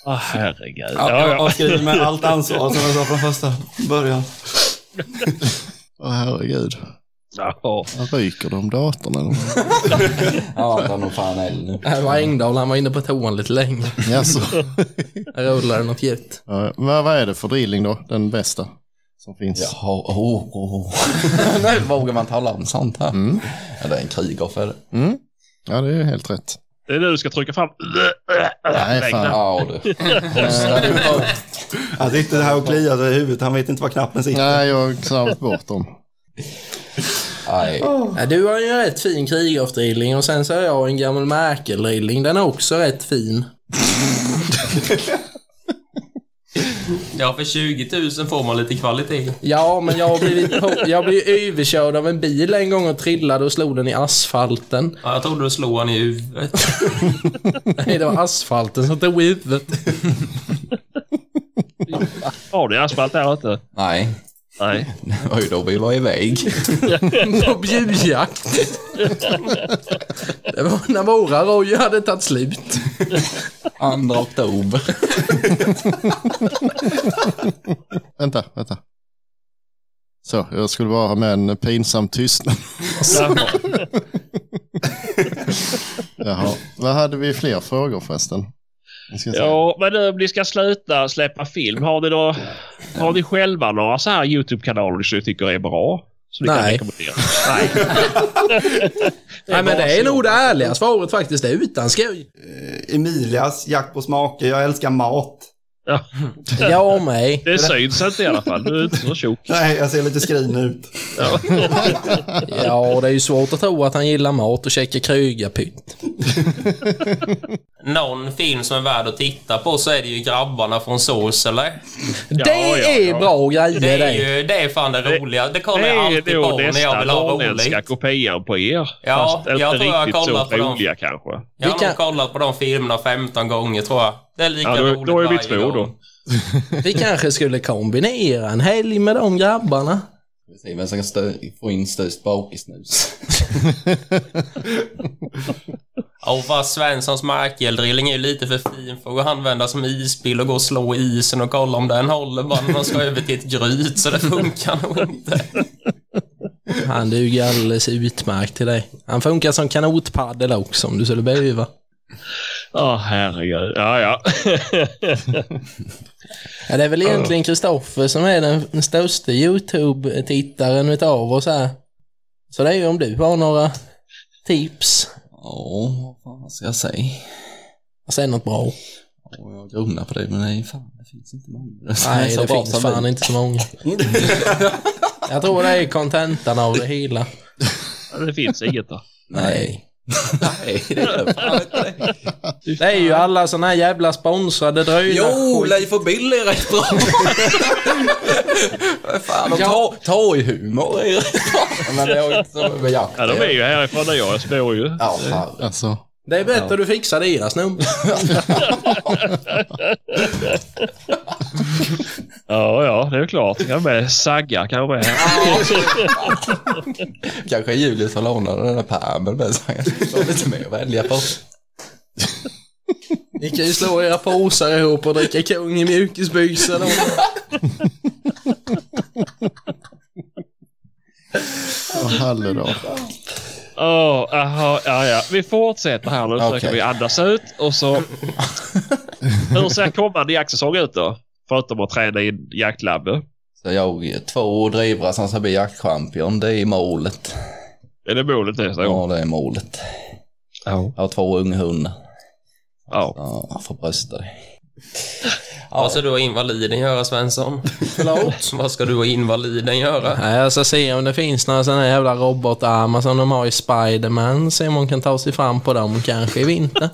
[SPEAKER 3] Ah, herregud. Ja,
[SPEAKER 2] Jag
[SPEAKER 3] ja.
[SPEAKER 2] avskriver med allt ansvar som jag sa från första början.
[SPEAKER 4] Åh herregud.
[SPEAKER 3] Ja.
[SPEAKER 4] Han ryker de datorn eller vad?
[SPEAKER 6] Ja, han tar nog fan eld nu.
[SPEAKER 1] Här Äh, var Engdahl, han var inne på toan lite länge.
[SPEAKER 4] Jaså.
[SPEAKER 1] Här rullade något gött.
[SPEAKER 4] Ja, ja. Men vad är det för drilling då? Den bästa som finns?
[SPEAKER 6] Jaha, oh, oh. Nu vågar man tala om sånt här. Ja, det är en krigoffer.
[SPEAKER 4] Mm. Ja, det är helt rätt.
[SPEAKER 3] Det är nu du ska trycka fram.
[SPEAKER 4] Nej, fan.
[SPEAKER 6] Ja, du. Hostar du upp?
[SPEAKER 2] Han sitter här och kliar sig i huvudet. Han vet inte var knappen sitter.
[SPEAKER 4] Nej, jag har slarvat bort dem.
[SPEAKER 6] Nej.
[SPEAKER 1] Ja, du har ju en rätt fin krigarfdrilling och sen så har jag en gammal Merkel-drilling. Den är också rätt fin.
[SPEAKER 5] <laughs> Ja, för 20 000 får man lite kvalitet.
[SPEAKER 1] Ja, men jag har blivit, jag blev överkörd av en bil en gång och trillade och slog den i asfalten.
[SPEAKER 5] Ja, jag trodde du slog han i huvudet.
[SPEAKER 1] Nej, det var asfalten som tog i huvudet.
[SPEAKER 3] Har du asfalt där ute?
[SPEAKER 6] Nej.
[SPEAKER 3] <laughs> Nej.
[SPEAKER 6] Det var ju då vi var iväg.
[SPEAKER 1] <laughs> På bjudjakt. Det var när våra rojor hade tagit slut.
[SPEAKER 6] Andra oktober.
[SPEAKER 4] Vänta, vänta. Så, jag skulle bara ha med en pinsam tystnad. Jaha. Vad hade vi fler frågor förresten? Vi ska se.
[SPEAKER 3] Ja, men nu om ni ska sluta släppa film, har ni, då, har ni själva några så här YouTube-kanaler som ni tycker är bra? Som ni kan
[SPEAKER 1] Nej.
[SPEAKER 3] rekommendera? Nej.
[SPEAKER 1] Nej, men
[SPEAKER 3] bara
[SPEAKER 1] det är
[SPEAKER 3] så.
[SPEAKER 1] nog det ärliga svaret faktiskt. Det är utan skoj.
[SPEAKER 2] Eh, Emilias jakt på smaker. Jag älskar mat.
[SPEAKER 3] Ja,
[SPEAKER 1] Jag med.
[SPEAKER 3] det syns inte i alla fall. Du är inte så tjock.
[SPEAKER 2] Nej, jag ser lite skrin ut.
[SPEAKER 3] Ja.
[SPEAKER 1] Ja, det är ju svårt att tro att han gillar mat och käkar krögarpytt.
[SPEAKER 5] Någon film som är värd att titta på så är det ju Grabbarna från Sorsele.
[SPEAKER 1] det
[SPEAKER 3] ja,
[SPEAKER 1] är
[SPEAKER 3] ja.
[SPEAKER 1] bra grejer
[SPEAKER 5] Det
[SPEAKER 1] det.
[SPEAKER 5] är ju det är fan det roliga. Det kollar
[SPEAKER 3] Det
[SPEAKER 5] jag
[SPEAKER 3] är
[SPEAKER 5] alltid på
[SPEAKER 3] nog
[SPEAKER 5] när jag
[SPEAKER 3] nästan
[SPEAKER 5] vill ha roligt.
[SPEAKER 3] norrländska kopian på er.
[SPEAKER 5] Ja,
[SPEAKER 3] fast inte
[SPEAKER 5] jag tror jag
[SPEAKER 3] riktigt så
[SPEAKER 5] kollar på dem.
[SPEAKER 3] roliga kanske.
[SPEAKER 5] Jag
[SPEAKER 1] Vilka-
[SPEAKER 5] har nog kollat på de filmerna 15 gånger tror jag. Det är lika
[SPEAKER 3] Ja, då,
[SPEAKER 5] roligt
[SPEAKER 3] då är vi
[SPEAKER 5] varje
[SPEAKER 3] två
[SPEAKER 5] gång.
[SPEAKER 3] då.
[SPEAKER 1] Vi kanske skulle kombinera en helg med de grabbarna.
[SPEAKER 6] Vi ser vem som kan stö- få in störst bakisnus.
[SPEAKER 5] Ja, och fast Svenssons markeldrilling är ju lite för fin för att använda som isbil och gå och slå i isen och kolla om den håller bara när man ska över till ett gryt så det funkar nog inte.
[SPEAKER 1] Han duger alldeles utmärkt till dig. Han funkar som kanotpaddel också om du skulle behöva.
[SPEAKER 3] Ja, herregud. Ja, ja.
[SPEAKER 1] Ja, det är väl egentligen Kristoffer som är den största YouTube-tittaren utav oss här. Så det är ju om du har några tips.
[SPEAKER 6] Ja, vad fan ska jag säga?
[SPEAKER 1] Och sen Alltså, något bra.
[SPEAKER 6] Ja, jag grunnar på det, men nej, fan, det finns inte många.
[SPEAKER 1] Nej, det finns fan
[SPEAKER 6] inte.
[SPEAKER 1] inte så
[SPEAKER 6] <laughs>
[SPEAKER 1] många. Jag tror det är kontentan av det hela.
[SPEAKER 3] Det finns inget då.
[SPEAKER 6] Nej. Nej, det är det fan inte det.
[SPEAKER 1] Det är ju alla såna här jävla sponsrade dröjda
[SPEAKER 6] Jo,
[SPEAKER 1] skit.
[SPEAKER 6] Leif och Billy är rätt <laughs> bra. Vad fan, och ta, ta i humor är rätt bra. Men det har ju inte så mycket med jakt
[SPEAKER 3] Ja, de är ju härifrån där jag bor ju.
[SPEAKER 6] Ja, fan.
[SPEAKER 4] Alltså,
[SPEAKER 1] Det är bättre du fixar deras nummer.
[SPEAKER 3] Ja, ja, det är klart. Jag är med Sagga kan jag vara med.
[SPEAKER 6] Kanske Julius har lånat den där pärmen med så han kan få lite mer att välja på.
[SPEAKER 1] Ni kan ju slå era påsar ihop och dricka kung i mjukisbyxor. då.
[SPEAKER 4] Och Halle då.
[SPEAKER 3] Åh, aha, ja, ja. Vi fortsätter här nu. Försöker
[SPEAKER 6] Okej.
[SPEAKER 3] vi andas ut och så... Hur ser kommande jaktsäsong ut då? Förutom att träna i jaktlabbet.
[SPEAKER 6] Så jag två drivrar som ska bli jaktchampion, det är målet.
[SPEAKER 3] Är det målet nästa år?
[SPEAKER 6] Ja, det är målet.
[SPEAKER 3] Ja.
[SPEAKER 6] Jag har två unghundar.
[SPEAKER 3] ja.
[SPEAKER 6] Ja, jag får brösta det.
[SPEAKER 5] Vad ska du och invaliden göra Svensson? Förlåt? Vad ska du och invaliden göra?
[SPEAKER 1] Nej, jag ska se om det finns några sådana här jävla robotarmar som de har i Spiderman. Se om man kan ta sig fram på dem kanske i vinter.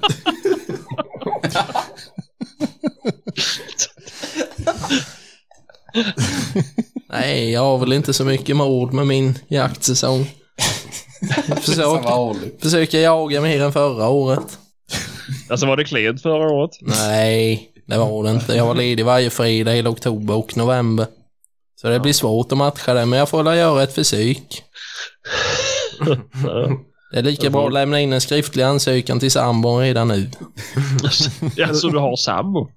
[SPEAKER 1] Nej, jag har väl inte så mycket mod med min
[SPEAKER 6] <laughs>
[SPEAKER 1] jaktsäsong. Försök, försöker jaga mer än förra året.
[SPEAKER 3] Alltså var det klent förra året?
[SPEAKER 1] Nej, det var det inte. Jag var ledig varje fredag hela oktober och november. Så det blir svårt att matcha det, men jag får väl göra ett
[SPEAKER 6] <laughs>
[SPEAKER 1] försök. Det är lika bra att lämna in en skriftlig ansökan till sambon redan nu.
[SPEAKER 3] Ja, så du har sambo?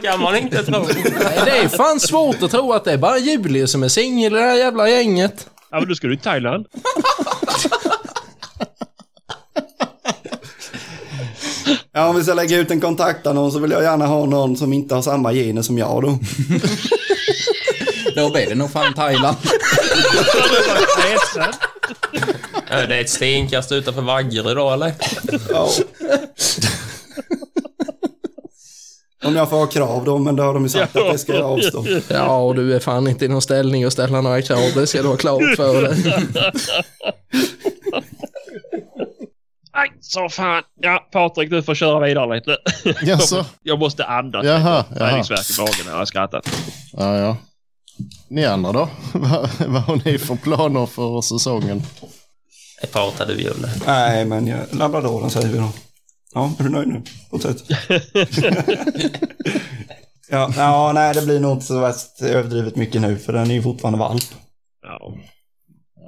[SPEAKER 5] Det kan man inte tro.
[SPEAKER 1] Nej, det är fan svårt att tro att det är bara Julie som är singel i det här jävla gänget.
[SPEAKER 3] Ja, men du ska du till Thailand.
[SPEAKER 2] Ja, om vi ska lägga ut en kontaktannons så vill jag gärna ha någon som inte har samma gener som jag då.
[SPEAKER 6] Då blir det nog fan Thailand.
[SPEAKER 5] Är det ett stenkast utanför Vaggeryd då eller?
[SPEAKER 2] Ja. Om jag får ha krav då, men då har de ju sagt att det ska jag avstå.
[SPEAKER 1] Ja, och du är fan inte i någon ställning att ställa några krav. Det ska du ha klart för dig.
[SPEAKER 3] Nej, så fan. Ja, Patrik, du får köra vidare lite.
[SPEAKER 4] Jaså?
[SPEAKER 3] Jag måste andas.
[SPEAKER 4] Jaha, jaha.
[SPEAKER 3] Träningsvärk i magen när jag skrattar.
[SPEAKER 4] Ja, ja. Ni andra då? <laughs> Vad, vad har ni för planer för säsongen?
[SPEAKER 5] Det pratade vi om det.
[SPEAKER 2] Nej, men jag, labradoren säger vi då. Ja, är du nöjd nu? Fortsätt. ja, ja, nej, det blir nog inte så värst överdrivet mycket nu, för den är ju fortfarande valp.
[SPEAKER 3] Ja.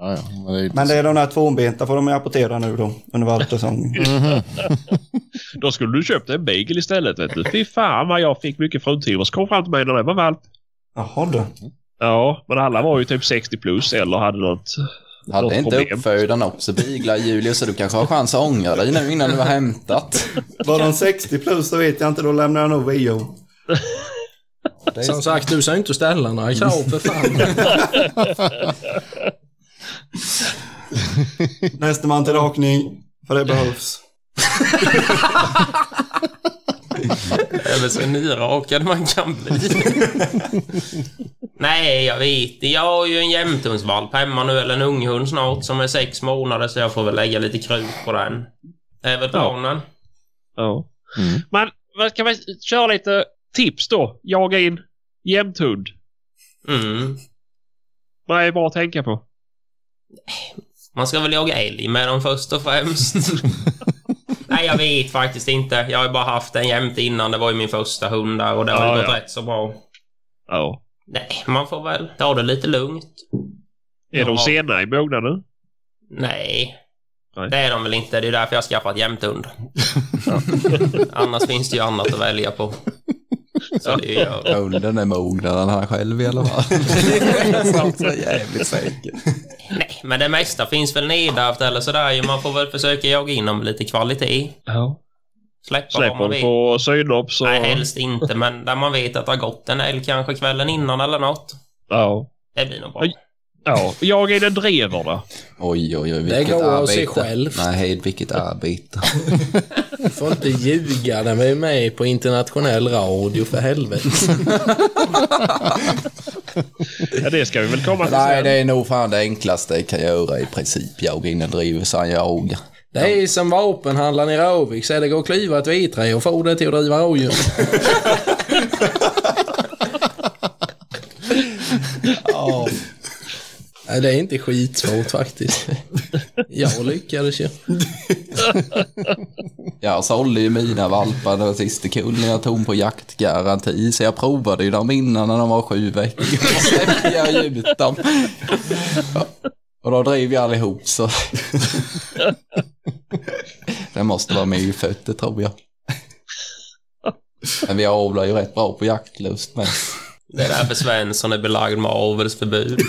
[SPEAKER 4] Ja, ja, men det är ju
[SPEAKER 2] Men det är de där tvåbenta får de ju apportera nu då, under valpsäsongen.
[SPEAKER 3] Då skulle du köpt en beagle istället. Vet du. Fy fan vad jag fick mycket fruntimmer som kom fram till mig när det var valp.
[SPEAKER 2] Jaha du.
[SPEAKER 3] Ja, men alla var ju typ 60 plus eller hade något...
[SPEAKER 6] Hade
[SPEAKER 3] något
[SPEAKER 6] inte
[SPEAKER 3] problem.
[SPEAKER 6] uppfödaren också biglar Julius så du kanske har chans att ångra dig nu innan du har hämtat.
[SPEAKER 2] Var de 60 plus så vet jag inte, då lämnar jag nog VO.
[SPEAKER 1] Som sagt, du ska inte ställa några krav för fan.
[SPEAKER 2] Nästa man till rakning, för det behövs.
[SPEAKER 5] Eller så nyrakad man kan bli. <laughs> Nej, jag vet inte. Jag har ju en jämthundsvalp hemma nu, eller en unghund snart, som är sex månader, så jag får väl lägga lite krut på den. Det är väl planen.
[SPEAKER 3] Ja.
[SPEAKER 4] Mm.
[SPEAKER 3] Men vad- kan vi köra lite tips då? Jaga in jämthund.
[SPEAKER 5] Mm.
[SPEAKER 3] Vad är bra att tänka på?
[SPEAKER 5] Man ska väl jaga älg med dem först och främst. <laughs> Nej, jag vet faktiskt inte. Jag har ju bara haft en jämt innan. Det var ju min första hund där och det har ju
[SPEAKER 3] Ja,
[SPEAKER 5] gått
[SPEAKER 3] ja.
[SPEAKER 5] rätt så bra.
[SPEAKER 3] Ja.
[SPEAKER 5] Nej, man får väl ta det lite lugnt.
[SPEAKER 3] Är
[SPEAKER 5] Ja.
[SPEAKER 3] de sena i mognaden?
[SPEAKER 5] Nej.
[SPEAKER 3] Nej.
[SPEAKER 5] Det är de väl inte. Det är därför jag har
[SPEAKER 3] <laughs>
[SPEAKER 5] skaffat jämthund. Annars finns det ju annat att välja på. Så det gör jag.
[SPEAKER 6] Hunden är mognare än han själv i
[SPEAKER 1] <laughs>
[SPEAKER 6] alla fall. Det är så jävligt säker.
[SPEAKER 5] Nej, men det mesta finns väl nedärvt eller sådär ju. Man får väl försöka jaga in dem lite kvalitet.
[SPEAKER 3] Ja.
[SPEAKER 5] Släppa vad
[SPEAKER 3] Släpper
[SPEAKER 5] man
[SPEAKER 3] de
[SPEAKER 5] vet.
[SPEAKER 3] på synop så...
[SPEAKER 5] Nej, helst inte. Men där man vet att det har gått en älg kanske kvällen innan eller något.
[SPEAKER 3] Ja.
[SPEAKER 5] Det blir nog bra.
[SPEAKER 3] Oj. Ja. Jaga in en drever då.
[SPEAKER 6] Oj, oj, oj.
[SPEAKER 1] Det
[SPEAKER 6] Vilket
[SPEAKER 1] går av sig
[SPEAKER 6] arbete.
[SPEAKER 1] självt.
[SPEAKER 6] Nej, vilket arbete.
[SPEAKER 1] Du får inte ljuga när vi är med på internationell radio, för helvete.
[SPEAKER 3] Ja, det ska vi väl komma till
[SPEAKER 6] Nej,
[SPEAKER 3] sen.
[SPEAKER 6] det är nog fan det enklaste jag kan göra i princip. Jag in en driver så han jagar.
[SPEAKER 1] Det är som vapenhandlaren i Råvik säger, det går att klyva ett viträ och få det till att driva
[SPEAKER 6] <laughs>
[SPEAKER 1] rådjur. Nej, det är inte skitsvårt faktiskt. Jag lyckades ju.
[SPEAKER 6] <laughs> Jag sålde ju mina valpar den sista kullen jag tog på jaktgaranti. Så jag provade ju dem innan när de var sju veckor. <laughs> Och släppte jag ut dem. Och då drev jag allihop så. Det måste vara myfötter tror jag. Men vi avlar ju rätt bra på jaktlust med.
[SPEAKER 5] Det är därför Svensson är belagd med avelsförbud.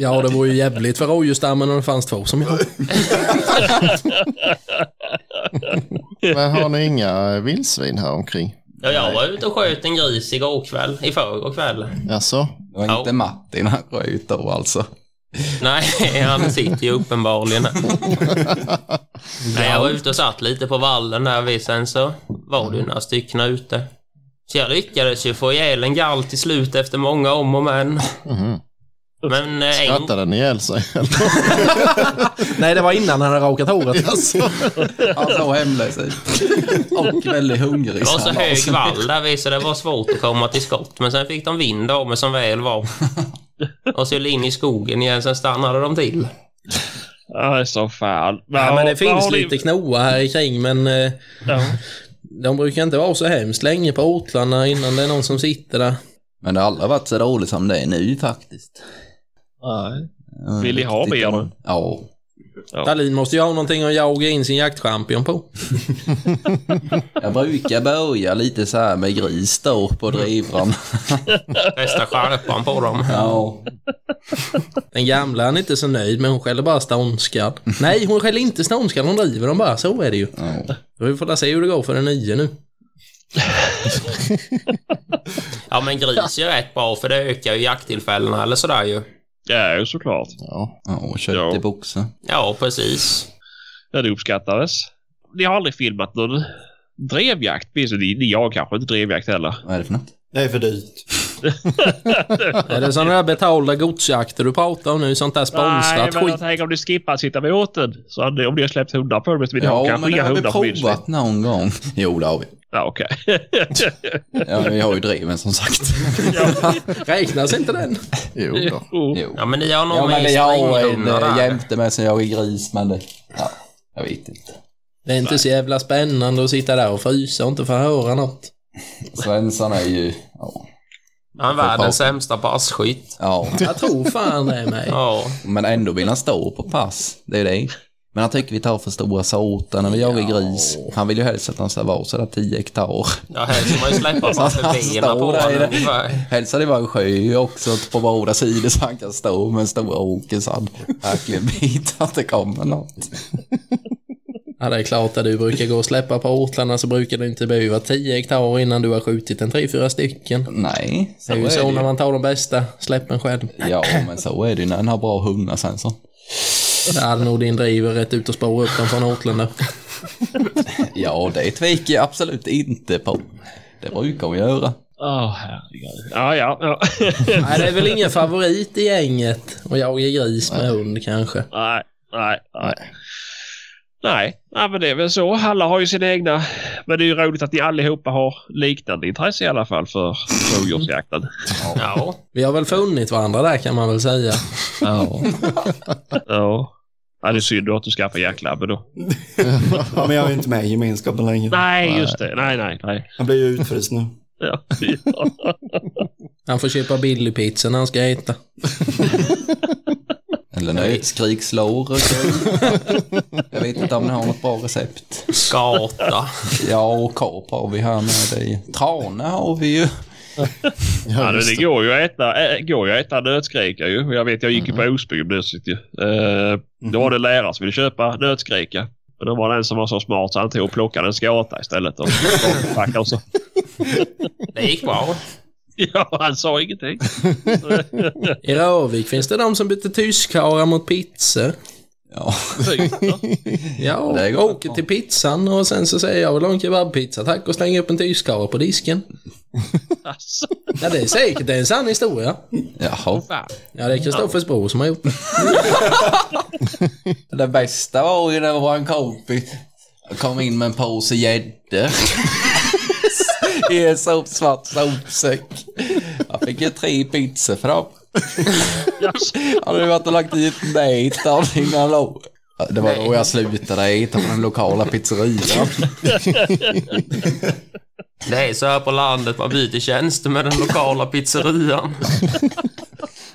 [SPEAKER 1] Ja, det vore ju jävligt för rådjursstammen om det fanns två som jag.
[SPEAKER 4] Men har ni inga eh, vildsvin här omkring?
[SPEAKER 5] Ja, jag var ute och sköt en gris igår kväll, i förrgår kväll.
[SPEAKER 4] Alltså,
[SPEAKER 6] Det var inte Martin han sköt då alltså.
[SPEAKER 5] Nej, <laughs> han sitter ju uppenbarligen. Nej, jag var ute och satt lite på vallen där vid, sen så var det ju några stycken ute. Så jag lyckades ju få ihjäl en gall till slut efter många om och men. Men eh, en,
[SPEAKER 4] skrattade den ihjäl sig?
[SPEAKER 1] Nej, det var innan han hade rakat håret.
[SPEAKER 6] Han såg hemlös ut. <laughs> Och väldigt hungrig.
[SPEAKER 5] det var så
[SPEAKER 6] han
[SPEAKER 5] hög
[SPEAKER 6] också.
[SPEAKER 5] vall där vid, så det var svårt att komma till skott. Men sen fick de vind av mig som väl var. Och så in i skogen igen, sen stannade de till.
[SPEAKER 3] Nej, så fan.
[SPEAKER 1] Ja,
[SPEAKER 3] har-
[SPEAKER 1] men det finns
[SPEAKER 3] har ni-
[SPEAKER 1] lite knoa här kring, men eh,
[SPEAKER 3] Ja.
[SPEAKER 1] de brukar inte vara så hemskt länge på otlarna innan det är någon som sitter där.
[SPEAKER 6] Men det har aldrig varit så roligt som det är nu faktiskt.
[SPEAKER 3] Nej.
[SPEAKER 6] Mm,
[SPEAKER 3] Vill ni ha
[SPEAKER 6] riktigt
[SPEAKER 3] mer
[SPEAKER 6] bra.
[SPEAKER 3] nu?
[SPEAKER 6] Ja.
[SPEAKER 1] Dahlin måste ju ha någonting att jaga in sin jaktchampion på.
[SPEAKER 6] Jag brukar börja lite så här med gris då på drivran.
[SPEAKER 5] Fästa skärpan på dem.
[SPEAKER 6] Ja.
[SPEAKER 1] Den gamla han är inte så nöjd, men hon skäller bara ståndskall. Nej, hon skäller inte ståndskall, hon driver dem bara. Så är det ju.
[SPEAKER 6] ja.
[SPEAKER 1] Vi får se hur det går för den nya nu.
[SPEAKER 5] Ja men gris är rätt bra för det ökar ju jakttillfällena eller sådär ju.
[SPEAKER 3] Ja, ju såklart.
[SPEAKER 4] Ja.
[SPEAKER 6] Ja, och kött
[SPEAKER 3] Ja.
[SPEAKER 6] i boxen.
[SPEAKER 5] Ja precis.
[SPEAKER 3] Ja, det uppskattades. Ni har aldrig filmat någon drevjakt? Minns ni? Ni har kanske inte drevjakt heller?
[SPEAKER 6] Vad är det för något?
[SPEAKER 2] Det är för dyrt.
[SPEAKER 1] Är det sådana där betalda godsjakter du pratar om nu? Sånt där
[SPEAKER 3] Nej,
[SPEAKER 1] sponsrat
[SPEAKER 3] men jag
[SPEAKER 1] skit?
[SPEAKER 3] tänker om ni skippar att sitta vid åten. Så hade- om ni har släppt hundar på dem, så vill ni ha
[SPEAKER 6] Ja,
[SPEAKER 3] kanske
[SPEAKER 6] men det
[SPEAKER 3] inga
[SPEAKER 6] har
[SPEAKER 3] hundar på
[SPEAKER 6] vi
[SPEAKER 3] vildsvin.
[SPEAKER 6] provat någon gång. Jo, det har vi.
[SPEAKER 3] Ja, okej. <laughs>
[SPEAKER 6] Ja, vi har ju driven som sagt.
[SPEAKER 1] Räknas inte den?
[SPEAKER 4] Jo då.
[SPEAKER 3] Jo.
[SPEAKER 6] Jo.
[SPEAKER 5] Ja men ni har nog
[SPEAKER 6] Ja, men
[SPEAKER 5] mer
[SPEAKER 6] det jag
[SPEAKER 5] spränghundar
[SPEAKER 6] är
[SPEAKER 5] där.
[SPEAKER 6] jämte med som jag är gris, men det... Ja, jag vet inte.
[SPEAKER 1] Det är inte så jävla spännande att sitta där och frysa och inte få höra något.
[SPEAKER 6] Svensson är ju... Ja.
[SPEAKER 5] Han är världens sämsta passkytt.
[SPEAKER 6] ja.
[SPEAKER 1] Jag tror fan det med.
[SPEAKER 5] Ja.
[SPEAKER 6] Men ändå vill han stå på pass. Det är det. Men han tycker vi tar för stora såtar när vi jagar gris. Han vill ju helst att han ska vara sådär 10 hektar.
[SPEAKER 5] Ja här ska man ju
[SPEAKER 6] <laughs>
[SPEAKER 5] släppa framför
[SPEAKER 6] Alltså, Han
[SPEAKER 5] benen på
[SPEAKER 6] står där i
[SPEAKER 5] honom
[SPEAKER 6] det.
[SPEAKER 5] ungefär.
[SPEAKER 6] Helst hade det varit en sjö också på båda sidor så han kan stå med stora åker så han verkligen vet att det kommer något.
[SPEAKER 1] Ja, det är klart att du brukar gå och släppa på ortlarna så brukar det inte behöva 10 hektar innan du har skjutit en 3-4 stycken.
[SPEAKER 6] Nej, så
[SPEAKER 1] Det är ju
[SPEAKER 6] det
[SPEAKER 1] så
[SPEAKER 6] ju.
[SPEAKER 1] när man tar de bästa, släpp en själv.
[SPEAKER 6] Ja, men så är det ju när en har bra hundar sen så.
[SPEAKER 1] Där hade nog din driver rätt ut och spåra upp dem från ortlarna.
[SPEAKER 6] Ja, det tvekar jag absolut inte på. Det brukar vi göra.
[SPEAKER 3] Åh, herregud. Ja, ja. ja. <laughs>
[SPEAKER 1] Nej, det är väl ingen favorit i gänget och jag är gris med hund kanske.
[SPEAKER 3] nej, nej, nej. Nej, nej, men det är väl så. Alla har ju sina egna. Men det är ju roligt att ni allihopa har liknande intresse i alla fall för
[SPEAKER 6] <laughs>
[SPEAKER 3] rovdjursjakten.
[SPEAKER 5] Ja.
[SPEAKER 1] Vi har väl funnit varandra där kan man väl säga.
[SPEAKER 3] Ja. ja. Ja, det är synd att du skaffar jaktlabben då.
[SPEAKER 2] Ja, men jag är inte med i gemenskapen längre.
[SPEAKER 3] Nej, just det. Nej, nej, nej.
[SPEAKER 2] Jag blir ju utfryst nu.
[SPEAKER 3] <laughs> Ja.
[SPEAKER 1] Han får köpa billigpizza när han ska äta.
[SPEAKER 6] <laughs> Eller nötskrikslorer. Jag vet inte om ni har något bra recept.
[SPEAKER 5] Skata.
[SPEAKER 6] Ja, och korp har vi här med dig. Trane har vi ju.
[SPEAKER 3] Ja,
[SPEAKER 4] Ja,
[SPEAKER 3] det,
[SPEAKER 4] just
[SPEAKER 3] det går ju att äta, äh, går ju att äta nötskrika ju. Och Jag vet, jag gick ju på Osby gymnasiet ju. Eh, Då var det lärare som ville köpa nötskrika. Men då var det en som var så smart så han tog och plockade en skata istället. Och, och <laughs> så.
[SPEAKER 5] Det gick bra.
[SPEAKER 3] Ja, han sa ingenting.
[SPEAKER 1] I Rövik finns det de som byter tyskkarlar mot pizzor.
[SPEAKER 6] Ja,
[SPEAKER 1] <laughs> Ja,
[SPEAKER 6] Det går
[SPEAKER 1] åker
[SPEAKER 6] bra.
[SPEAKER 1] till pizzan och sen så säger jag vill ha en kebabpizza tack och slänger upp en tyskarl på disken.
[SPEAKER 3] Alltså,
[SPEAKER 1] Ja, det är säkert det är en sann historia.
[SPEAKER 6] jaha.
[SPEAKER 3] fan.
[SPEAKER 1] Ja, det är Kristoffers bror som har gjort det.
[SPEAKER 6] Det bästa var ju när vår kompis kom in med en påse gäddor. <laughs> I en sopsvart sopsäck. Jag fick ju tre pizzor för dem.
[SPEAKER 3] Jaså.
[SPEAKER 6] Han hade varit och lagt dit nät av innan då. Det var då jag slutade äta på den lokala pizzerian.
[SPEAKER 5] Det är så här på landet, man byter tjänst med den lokala pizzerian.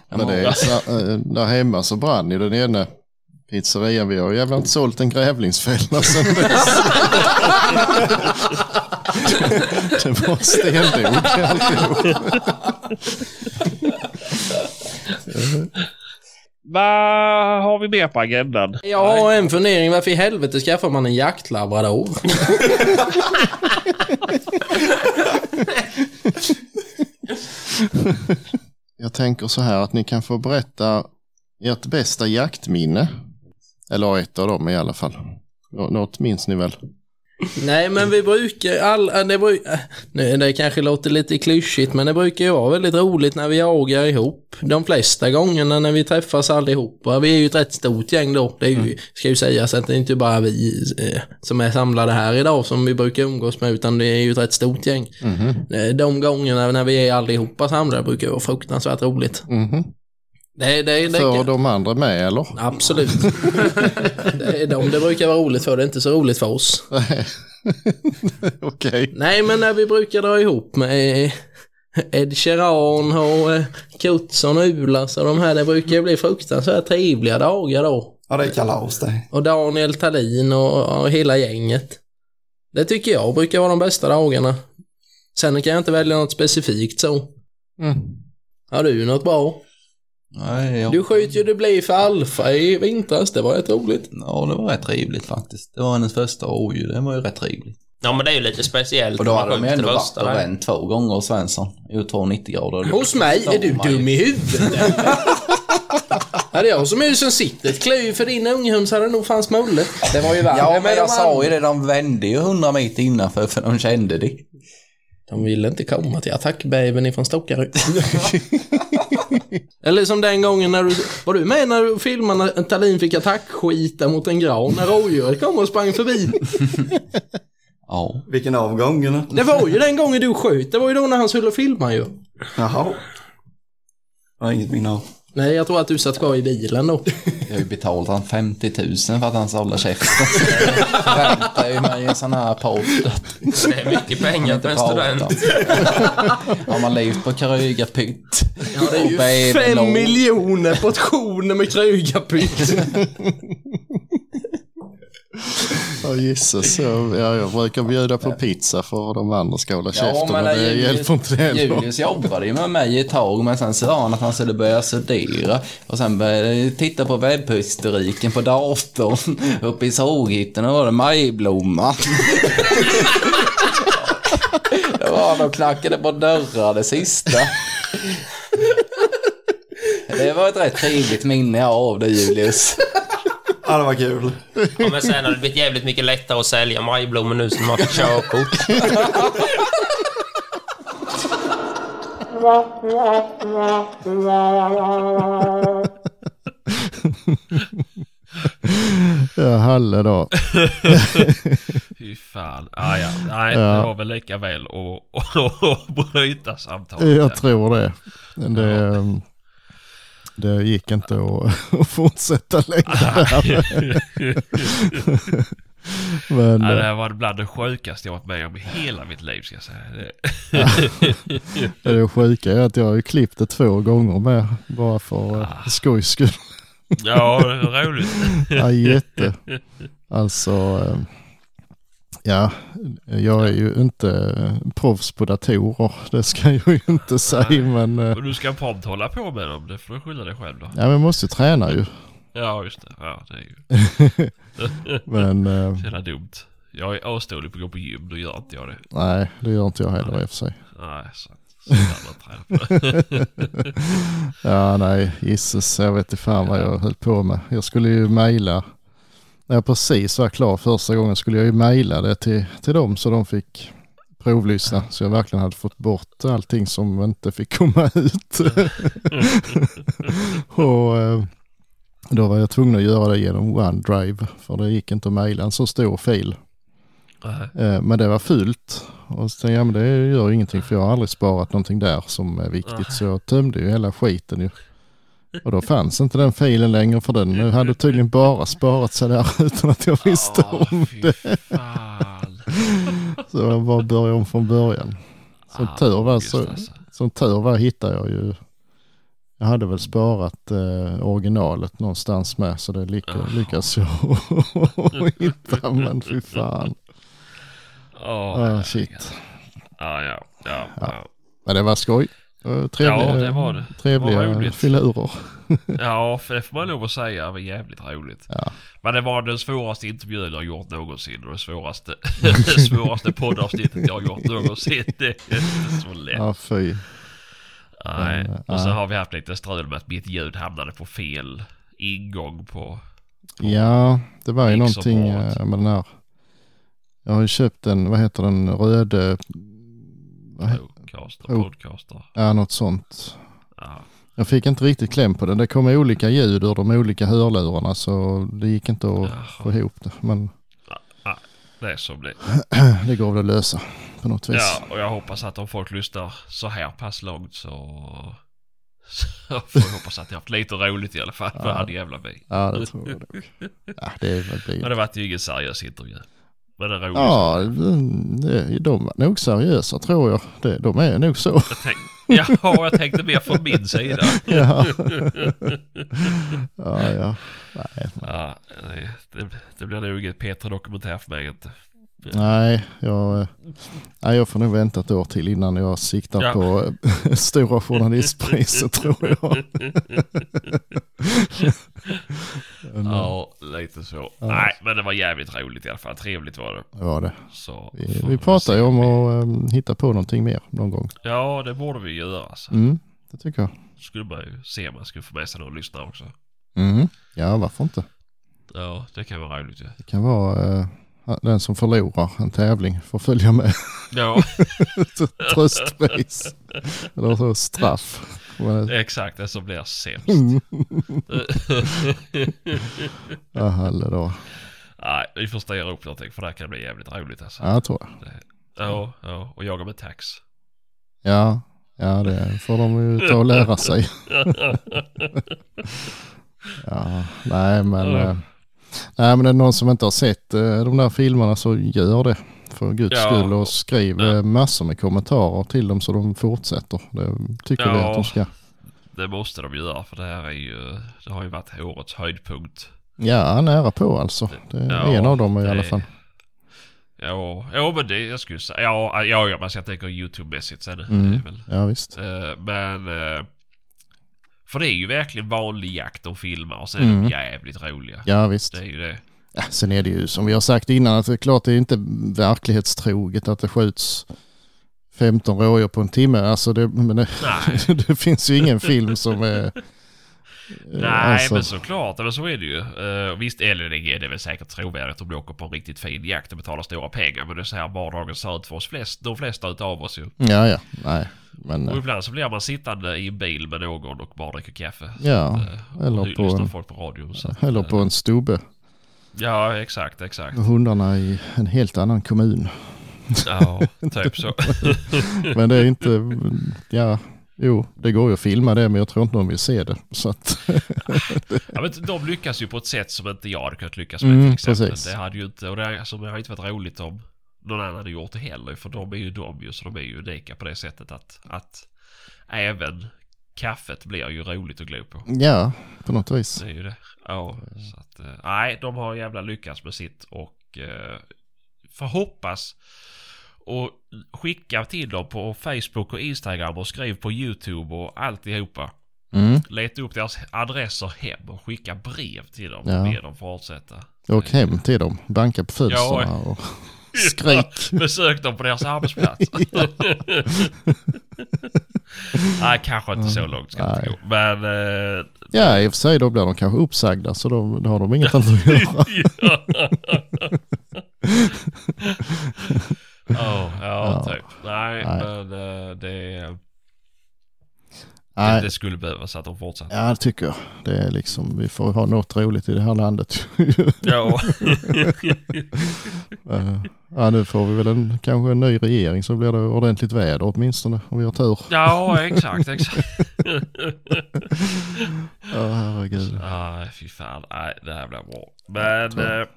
[SPEAKER 4] Men det är, så, eh, där hemma så brann ju den ena pizzerian. Vi har ju jävla inte sålt en grävlingsfälla sen dess. <laughs> Det var stendod i alltihop.
[SPEAKER 3] Vad har vi mer på agendan?
[SPEAKER 1] Jag har en fundering. Varför i helvete skaffar man en jaktlabrador?
[SPEAKER 4] Jag tänker så här att ni kan få berätta ert bästa jaktminne. Eller ett av dem i alla fall. Nå- Något minns ni väl?
[SPEAKER 1] Nej, men vi brukar alla... Det, bru, äh, nu, det kanske låter lite klyschigt, men det brukar ju vara väldigt roligt när vi jagar ihop. De flesta gångerna när vi träffas allihopa. Vi är ju ett rätt stort gäng då. Det är ju, ska ju sägas att det är inte bara vi eh, som är samlade här idag som vi brukar umgås med, utan det är ju ett rätt stort gäng. Eh, De gångerna när vi är allihopa samlade brukar det vara fruktansvärt roligt.
[SPEAKER 4] Mhm.
[SPEAKER 1] Det, det, det,
[SPEAKER 4] För de andra med eller? <laughs>
[SPEAKER 1] Absolut. <laughs> det är de det brukar vara roligt för, det är inte så roligt för oss.
[SPEAKER 4] Nej. Okej.
[SPEAKER 1] Nej, men när vi brukar dra ihop med eh, Ed Sheeran och eh, Kutson och Ulas och de här, det brukar ju bli fruktansvärt trevliga dagar då.
[SPEAKER 2] Ja, det är kalas det.
[SPEAKER 1] Och Daniel Tallin och, och hela gänget. Det tycker jag brukar vara de bästa dagarna. Sen kan jag inte välja något specifikt så.
[SPEAKER 4] Mm.
[SPEAKER 1] Har du något bra?
[SPEAKER 6] Nej, jag...
[SPEAKER 1] Du sköt ju det blir för Alfa i vintras, det var rätt roligt.
[SPEAKER 6] Ja, det var rätt trevligt faktiskt. Det var hennes första rådjur, det var ju rätt trevligt.
[SPEAKER 5] Ja men det är ju lite speciellt.
[SPEAKER 6] Och då
[SPEAKER 5] när
[SPEAKER 6] hade de ju
[SPEAKER 5] skjuter
[SPEAKER 6] ändå varit
[SPEAKER 5] första,
[SPEAKER 6] och
[SPEAKER 5] va?
[SPEAKER 6] vänt två gånger, Svensson. Jo, 290 grader.
[SPEAKER 1] Hos mig? Är du
[SPEAKER 6] Oh
[SPEAKER 1] dum i huvudet? eller? Ja, det är jag som är som sitter. Klöv för din unghöns hade nog fan smulle. Det var ju värre
[SPEAKER 6] Ja,
[SPEAKER 1] med
[SPEAKER 6] men alltså-
[SPEAKER 1] de
[SPEAKER 6] jag sa ju
[SPEAKER 1] andra.
[SPEAKER 6] det, de vände ju 100 meter innanför för de kände det.
[SPEAKER 1] De ville inte komma till attackbabyn ifrån Stockaryd. Eller som den gången när du... Var du med när du filmade när Tallin fick attackskita mot en gran när rådjuret kom och sprang förbi?
[SPEAKER 6] Ja.
[SPEAKER 2] Vilken avgång, eller?
[SPEAKER 1] Det var ju den gången du sköt. Det var ju då när han skulle filma ju.
[SPEAKER 2] Jaha. Jag har inget minne av.
[SPEAKER 1] Nej, jag tror att du satt kvar i bilen då.
[SPEAKER 6] Jag har ju betalt han 50 000 för att han ska hålla käften. <laughs> Väntar ju mig i en sån här podd.
[SPEAKER 5] Det är mycket pengar till en student.
[SPEAKER 6] Har man levt på Kröga pytt? Ja, det är
[SPEAKER 1] Fem miljoner portioner med krögarpytt.
[SPEAKER 4] Ja, Jesus. Jag, ja, jag brukar bjuda på pizza för att de andra ska hålla käften. men det, hjälper inte heller.
[SPEAKER 6] Julius jobbade ju med mig ett tag, men sen sa han att han skulle börja studera. Och sen började jag titta på webbhistoriken på datorn. <laughs> Uppe i såghytten och var det <laughs> majblomman. det var han och knackade på dörrar det sista. Det var ett rätt trevligt minne jag har av det Julius.
[SPEAKER 2] Ja, det var kul.
[SPEAKER 5] Ja, men sen har det blivit jävligt mycket lättare att sälja majblommor nu som man får körkort.
[SPEAKER 4] Ja, Halle då.
[SPEAKER 7] Fy fan. Ah, ja. Nej,
[SPEAKER 4] Ja.
[SPEAKER 7] det var väl lika väl att- att att bryta samtalet.
[SPEAKER 4] Jag tror det. Men Det, ehm, det gick inte att, <laughs> att fortsätta längre.
[SPEAKER 7] <laughs>
[SPEAKER 4] Men,
[SPEAKER 7] Ja, det
[SPEAKER 4] eh,
[SPEAKER 7] här var bland det sjukaste jag varit med om i hela mitt liv ska jag säga. Det,
[SPEAKER 4] <laughs> det sjuka är att jag har ju klippt det två gånger med. Bara för eh,
[SPEAKER 7] Ah.
[SPEAKER 4] skojs skull.
[SPEAKER 7] ja, det var roligt.
[SPEAKER 4] Ja, jätte. Alltså, eh, ja, jag är ju inte proffs på datorer, det ska jag ju inte säga, men eh,
[SPEAKER 7] Och du ska prompt hålla på med dem, det får du skylla dig själv då.
[SPEAKER 4] ja, men jag måste ju träna ju.
[SPEAKER 7] Ja, just det. Ja, det är ju
[SPEAKER 4] Men eh,
[SPEAKER 7] så jävla dumt. Jag är asdålig på att gå på gym, då gör inte jag det.
[SPEAKER 4] nej, det gör inte jag heller i och för sig.
[SPEAKER 7] Nej, sant. Så jävla träna på det.
[SPEAKER 4] Ja, nej, Jesus, jag vet inte fan vad jag höll på med. Jag skulle ju mejla, när jag precis var klar första gången skulle jag ju mejla det till, till dem så de fick provlyssna. Så jag verkligen hade fått bort allting som inte fick komma ut. <laughs> och eh, då var jag tvungen att göra det genom OneDrive, för det gick inte att mejla en så stor fil.
[SPEAKER 7] Nej.
[SPEAKER 4] Eh, Men det var fult. Och så tänkte jag, ja, men det gör ingenting för jag har aldrig sparat någonting där som är
[SPEAKER 7] Ah.
[SPEAKER 4] viktigt. Så jag tömde ju hela skiten ju. Och då fanns inte den filen längre för den hade tydligen bara sparat sig där <laughs> utan att jag visste
[SPEAKER 7] Åh,
[SPEAKER 4] om
[SPEAKER 7] Ah, fy
[SPEAKER 4] det.
[SPEAKER 7] fan.
[SPEAKER 4] Så jag bara började om från början. Som tur var
[SPEAKER 7] August,
[SPEAKER 4] så,
[SPEAKER 7] Ah, alltså.
[SPEAKER 4] som tur var hittade jag ju. Jag hade väl sparat eh, originalet någonstans med så <laughs>
[SPEAKER 7] Ah.
[SPEAKER 4] det lyck- lyckades jag hitta. Men fy fan.
[SPEAKER 7] Åh,
[SPEAKER 4] Ah, shit.
[SPEAKER 7] ja, ja, ja, ja.
[SPEAKER 4] Men det var skoj. Det var Trevliga,
[SPEAKER 7] Ja, det var det. Det var
[SPEAKER 4] Trevliga
[SPEAKER 7] roligt.
[SPEAKER 4] filurer.
[SPEAKER 7] Ja, för det får man lov att säga. Det var jävligt roligt.
[SPEAKER 4] Ja.
[SPEAKER 7] Men det var den svåraste intervjun jag har gjort någonsin och det svåraste, det svåraste poddavsnittet jag har gjort någonsin. Det är inte så lätt.
[SPEAKER 4] Ja, fy.
[SPEAKER 7] Nej.
[SPEAKER 4] Men,
[SPEAKER 7] Och så
[SPEAKER 4] ja.
[SPEAKER 7] har vi haft lite strul med att mitt ljud hamnade på fel ingång på...
[SPEAKER 4] Ja, det var ju
[SPEAKER 7] Gick så
[SPEAKER 4] någonting
[SPEAKER 7] bra.
[SPEAKER 4] eh, med den här. Jag har ju köpt en, vad heter den, röde, vad he-
[SPEAKER 7] Podcaster,
[SPEAKER 4] Oh.
[SPEAKER 7] podcaster.
[SPEAKER 4] ja något sånt.
[SPEAKER 7] Ja.
[SPEAKER 4] Jag fick inte riktigt kläm på den. Det kom olika ljud ur de olika hörlurarna så det gick inte att
[SPEAKER 7] Jaha.
[SPEAKER 4] få ihop det. Men
[SPEAKER 7] Det är som det
[SPEAKER 4] det går väl att lösa på något vis.
[SPEAKER 7] Ja, och jag hoppas att om folk lyssnar så här pass långt så... Så får jag hoppas att jag haft lite roligt i alla fall för
[SPEAKER 4] Ja.
[SPEAKER 7] han jävla mig.
[SPEAKER 4] Ja, det tror jag nog. Ja, det är väl
[SPEAKER 7] <laughs> Men
[SPEAKER 4] det.
[SPEAKER 7] det vart ju ingen seriös intervju. Men det är roligt.
[SPEAKER 4] Ja, det, de var nog seriösa tror jag. Det, de är nog så.
[SPEAKER 7] Jag tänk, ja, jag tänkte mer från min sida. <laughs>
[SPEAKER 4] Ja, ja. ja. Nej.
[SPEAKER 7] Ja, nej, det, det blir nog inget Peter dokumentär för mig inte.
[SPEAKER 4] Nej, jag, eh, nej, jag får nog vänta ett år till innan jag siktar
[SPEAKER 7] Ja.
[SPEAKER 4] på <laughs> eh, Stora
[SPEAKER 7] <laughs>
[SPEAKER 4] Journalistpriset tror jag. Men,
[SPEAKER 7] Ja, lite så. Nej, men det var jävligt roligt i alla fall. Trevligt var det.
[SPEAKER 4] det var det.
[SPEAKER 7] Så
[SPEAKER 4] Vi,
[SPEAKER 7] får
[SPEAKER 4] vi
[SPEAKER 7] väl
[SPEAKER 4] pratar ju
[SPEAKER 7] se.
[SPEAKER 4] om att eh, hitta på någonting mer någon gång.
[SPEAKER 7] Ja, det borde vi göra. Alltså.
[SPEAKER 4] Mm, det tycker jag.
[SPEAKER 7] Skulle man ju se om man skulle få med sig någon lyssnare också.
[SPEAKER 4] Mm. Ja, varför inte?
[SPEAKER 7] Ja, det kan vara roligt ju.
[SPEAKER 4] Det kan vara eh, den som förlorar en tävling får följa med <laughs>
[SPEAKER 7] Ja,
[SPEAKER 4] tröstpris. Eller så straff. Men,
[SPEAKER 7] <laughs> exakt. Det som blir sämst.
[SPEAKER 4] Ja, hallå då.
[SPEAKER 7] Nej, vi får styra upp någonting för det här kan bli jävligt roligt alltså.
[SPEAKER 4] Ja, tror jag.
[SPEAKER 7] Ja, ja. Och jaga med tax.
[SPEAKER 4] Ja, ja, det får de ju ta och lära
[SPEAKER 7] <laughs>
[SPEAKER 4] sig. ja, nej, men,
[SPEAKER 7] Ja.
[SPEAKER 4] eh, nej, men är det någon som inte har sett eh, de där filmerna så gör det för guds
[SPEAKER 7] Ja.
[SPEAKER 4] skull och skriv
[SPEAKER 7] Ja.
[SPEAKER 4] eh, massor med kommentarer till dem så de fortsätter. Det tycker vi
[SPEAKER 7] Ja.
[SPEAKER 4] att de ska.
[SPEAKER 7] Det måste de göra för det här är ju, det har ju varit årets höjdpunkt.
[SPEAKER 4] Ja, nära på alltså. Det är
[SPEAKER 7] Ja,
[SPEAKER 4] en av dem i
[SPEAKER 7] det-
[SPEAKER 4] alla fall.
[SPEAKER 7] Ja, ja men det, jag skulle säga, ja, ja, ja men jag tänker YouTube-mässigt sen. Det är
[SPEAKER 4] Mm.
[SPEAKER 7] väl,
[SPEAKER 4] Ja, visst.
[SPEAKER 7] eh, men, eh, för det är ju verkligen vanlig jakt de filmar och så är de
[SPEAKER 4] Mm.
[SPEAKER 7] jävligt roliga.
[SPEAKER 4] Ja, visst.
[SPEAKER 7] Det är ju det.
[SPEAKER 4] Ja, sen är det ju som vi har sagt innan att det är klart det är inte verklighetstroget att det skjuts 15 rådjur på en timme. Alltså det, men det,
[SPEAKER 7] Nej,
[SPEAKER 4] <laughs> det finns ju ingen film som är... eh, alltså-
[SPEAKER 7] nej men såklart, men så är det ju. Eh, visst, LNG det är väl säkert trovärdigt om du åker på en riktigt fin jakt och betalar stora pengar. Men det är så här vardagen ser ut för oss flest, de flesta utav oss ju.
[SPEAKER 4] Ja, ja. Nej. Men,
[SPEAKER 7] Och
[SPEAKER 4] eh,
[SPEAKER 7] ibland så blir man sittande i en bil med någon och bara dricker kaffe.
[SPEAKER 4] ja.
[SPEAKER 7] Eh,
[SPEAKER 4] eller
[SPEAKER 7] och ly-
[SPEAKER 4] på
[SPEAKER 7] lyssnar
[SPEAKER 4] en-
[SPEAKER 7] folk på radion. Så att,
[SPEAKER 4] Eller
[SPEAKER 7] eh,
[SPEAKER 4] på en stubbe.
[SPEAKER 7] Ja, exakt,
[SPEAKER 4] <laughs>
[SPEAKER 7] exakt.
[SPEAKER 4] Och Hundarna i en helt annan
[SPEAKER 7] <laughs>
[SPEAKER 4] kommun.
[SPEAKER 7] Ja, typ så.
[SPEAKER 4] Men det är inte... Ja. Jo, det går ju att filma det men jag tror inte någon vill se det. Så att, <laughs>
[SPEAKER 7] Ja, men de lyckas ju på ett sätt som inte jag hade kunnat lyckas med
[SPEAKER 4] Mm,
[SPEAKER 7] till exempel.
[SPEAKER 4] precis.
[SPEAKER 7] Det hade ju inte, och det, har- alltså, det har inte varit roligt om någon annan hade gjort det heller. För de är ju de ju, så de är ju unika på det sättet att, att även kaffet blir ju roligt att glo på.
[SPEAKER 4] ja, på något vis.
[SPEAKER 7] Det är ju det. Ja, så att, eh, nej, de har jävla lyckats med sitt och eh, får hoppas och skicka till dem på Facebook och Instagram och skriv på YouTube och alltihopa.
[SPEAKER 4] Mm.
[SPEAKER 7] Leta upp deras adresser hem och skicka brev till dem
[SPEAKER 4] Ja.
[SPEAKER 7] och be dem fortsätta.
[SPEAKER 4] Åk hem till dem, banka på fönstren och skrik.
[SPEAKER 7] <laughs> Besök dem på deras arbetsplats.
[SPEAKER 4] <laughs>
[SPEAKER 7] <laughs> nej, kanske inte
[SPEAKER 4] Mm.
[SPEAKER 7] så långt ska det inte gå. Men... Eh,
[SPEAKER 4] Ja, i och för sig då blir de kanske uppsagda så då, då har de
[SPEAKER 7] <laughs>
[SPEAKER 4] inget annat att göra.
[SPEAKER 7] ja. ja, typ. Nej,
[SPEAKER 4] Nej.
[SPEAKER 7] men eh, det,
[SPEAKER 4] Nej, Ah,
[SPEAKER 7] det skulle behövas att de fortsätter.
[SPEAKER 4] ja, det tycker jag. Det är liksom, vi får ha något roligt i det här landet. <laughs>
[SPEAKER 7] Ja.
[SPEAKER 4] Eh, ja, nu får vi väl en, kanske en ny regering så blir det ordentligt väder åtminstone om vi har tur.
[SPEAKER 7] ja, exakt, exakt.
[SPEAKER 4] Ja, herregud.
[SPEAKER 7] Nej, fy fan. Nej, det här blir bra. Men,
[SPEAKER 4] tror jag.
[SPEAKER 7] eh,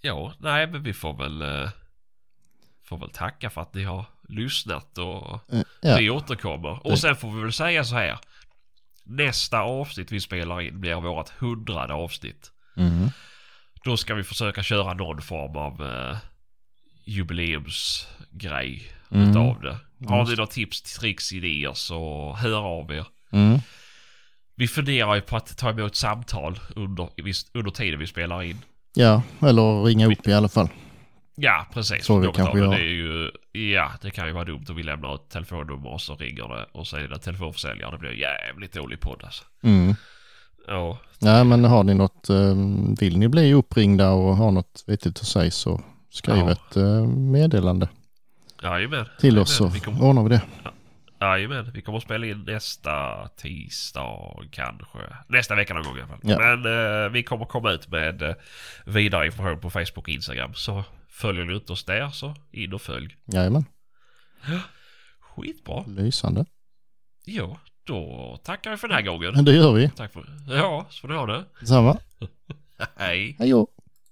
[SPEAKER 7] ja, nej, men vi får väl, eh, får väl tacka för att ni har lyssnat och
[SPEAKER 4] Eh, Ja,
[SPEAKER 7] vi återkommer. Och sen får vi väl säga så här. Nästa avsnitt vi spelar in blir vårt hundrade avsnitt.
[SPEAKER 4] mm.
[SPEAKER 7] Då ska vi försöka köra någon form av eh, jubileumsgrej
[SPEAKER 4] Mm.
[SPEAKER 7] utav det. Har ni några tips, tricks, idéer så hör av er.
[SPEAKER 4] Mm.
[SPEAKER 7] Vi funderar ju på att ta emot samtal under, under tiden vi spelar in.
[SPEAKER 4] Ja, eller ringa upp i alla fall.
[SPEAKER 7] Ja, precis.
[SPEAKER 4] Så vi
[SPEAKER 7] Något
[SPEAKER 4] kanske
[SPEAKER 7] av det
[SPEAKER 4] gör.
[SPEAKER 7] är ju, ja, det kan ju vara dumt om vi lämnar ett telefonnummer och så ringer det och så är det telefonförsäljare. Det blir jävligt dålig podd alltså.
[SPEAKER 4] Mm.
[SPEAKER 7] Ja,
[SPEAKER 4] Nej, men har ni något, ehm, vill ni bli uppringda och ha något vettigt att säga så skriv
[SPEAKER 7] Ja.
[SPEAKER 4] ett eh, meddelande
[SPEAKER 7] jajamän.
[SPEAKER 4] till
[SPEAKER 7] Jajamän,
[SPEAKER 4] oss så
[SPEAKER 7] Vi kommer,
[SPEAKER 4] ordnar vi det.
[SPEAKER 7] jajamän, vi kommer att spela in nästa tisdag kanske. Nästa vecka någon gång i alla fall.
[SPEAKER 4] Ja.
[SPEAKER 7] Men eh, vi kommer komma ut med eh, vidare information på Facebook och Instagram. Så följer ni inte oss där så in och följ.
[SPEAKER 4] Jajamän,
[SPEAKER 7] Skitbra.
[SPEAKER 4] lysande.
[SPEAKER 7] Ja, då tackar vi för den här gången.
[SPEAKER 4] Det gör vi.
[SPEAKER 7] Tack för... Ja, så får ni ha det.
[SPEAKER 4] Detsamma.
[SPEAKER 7] <laughs> Hej.
[SPEAKER 4] Hej då.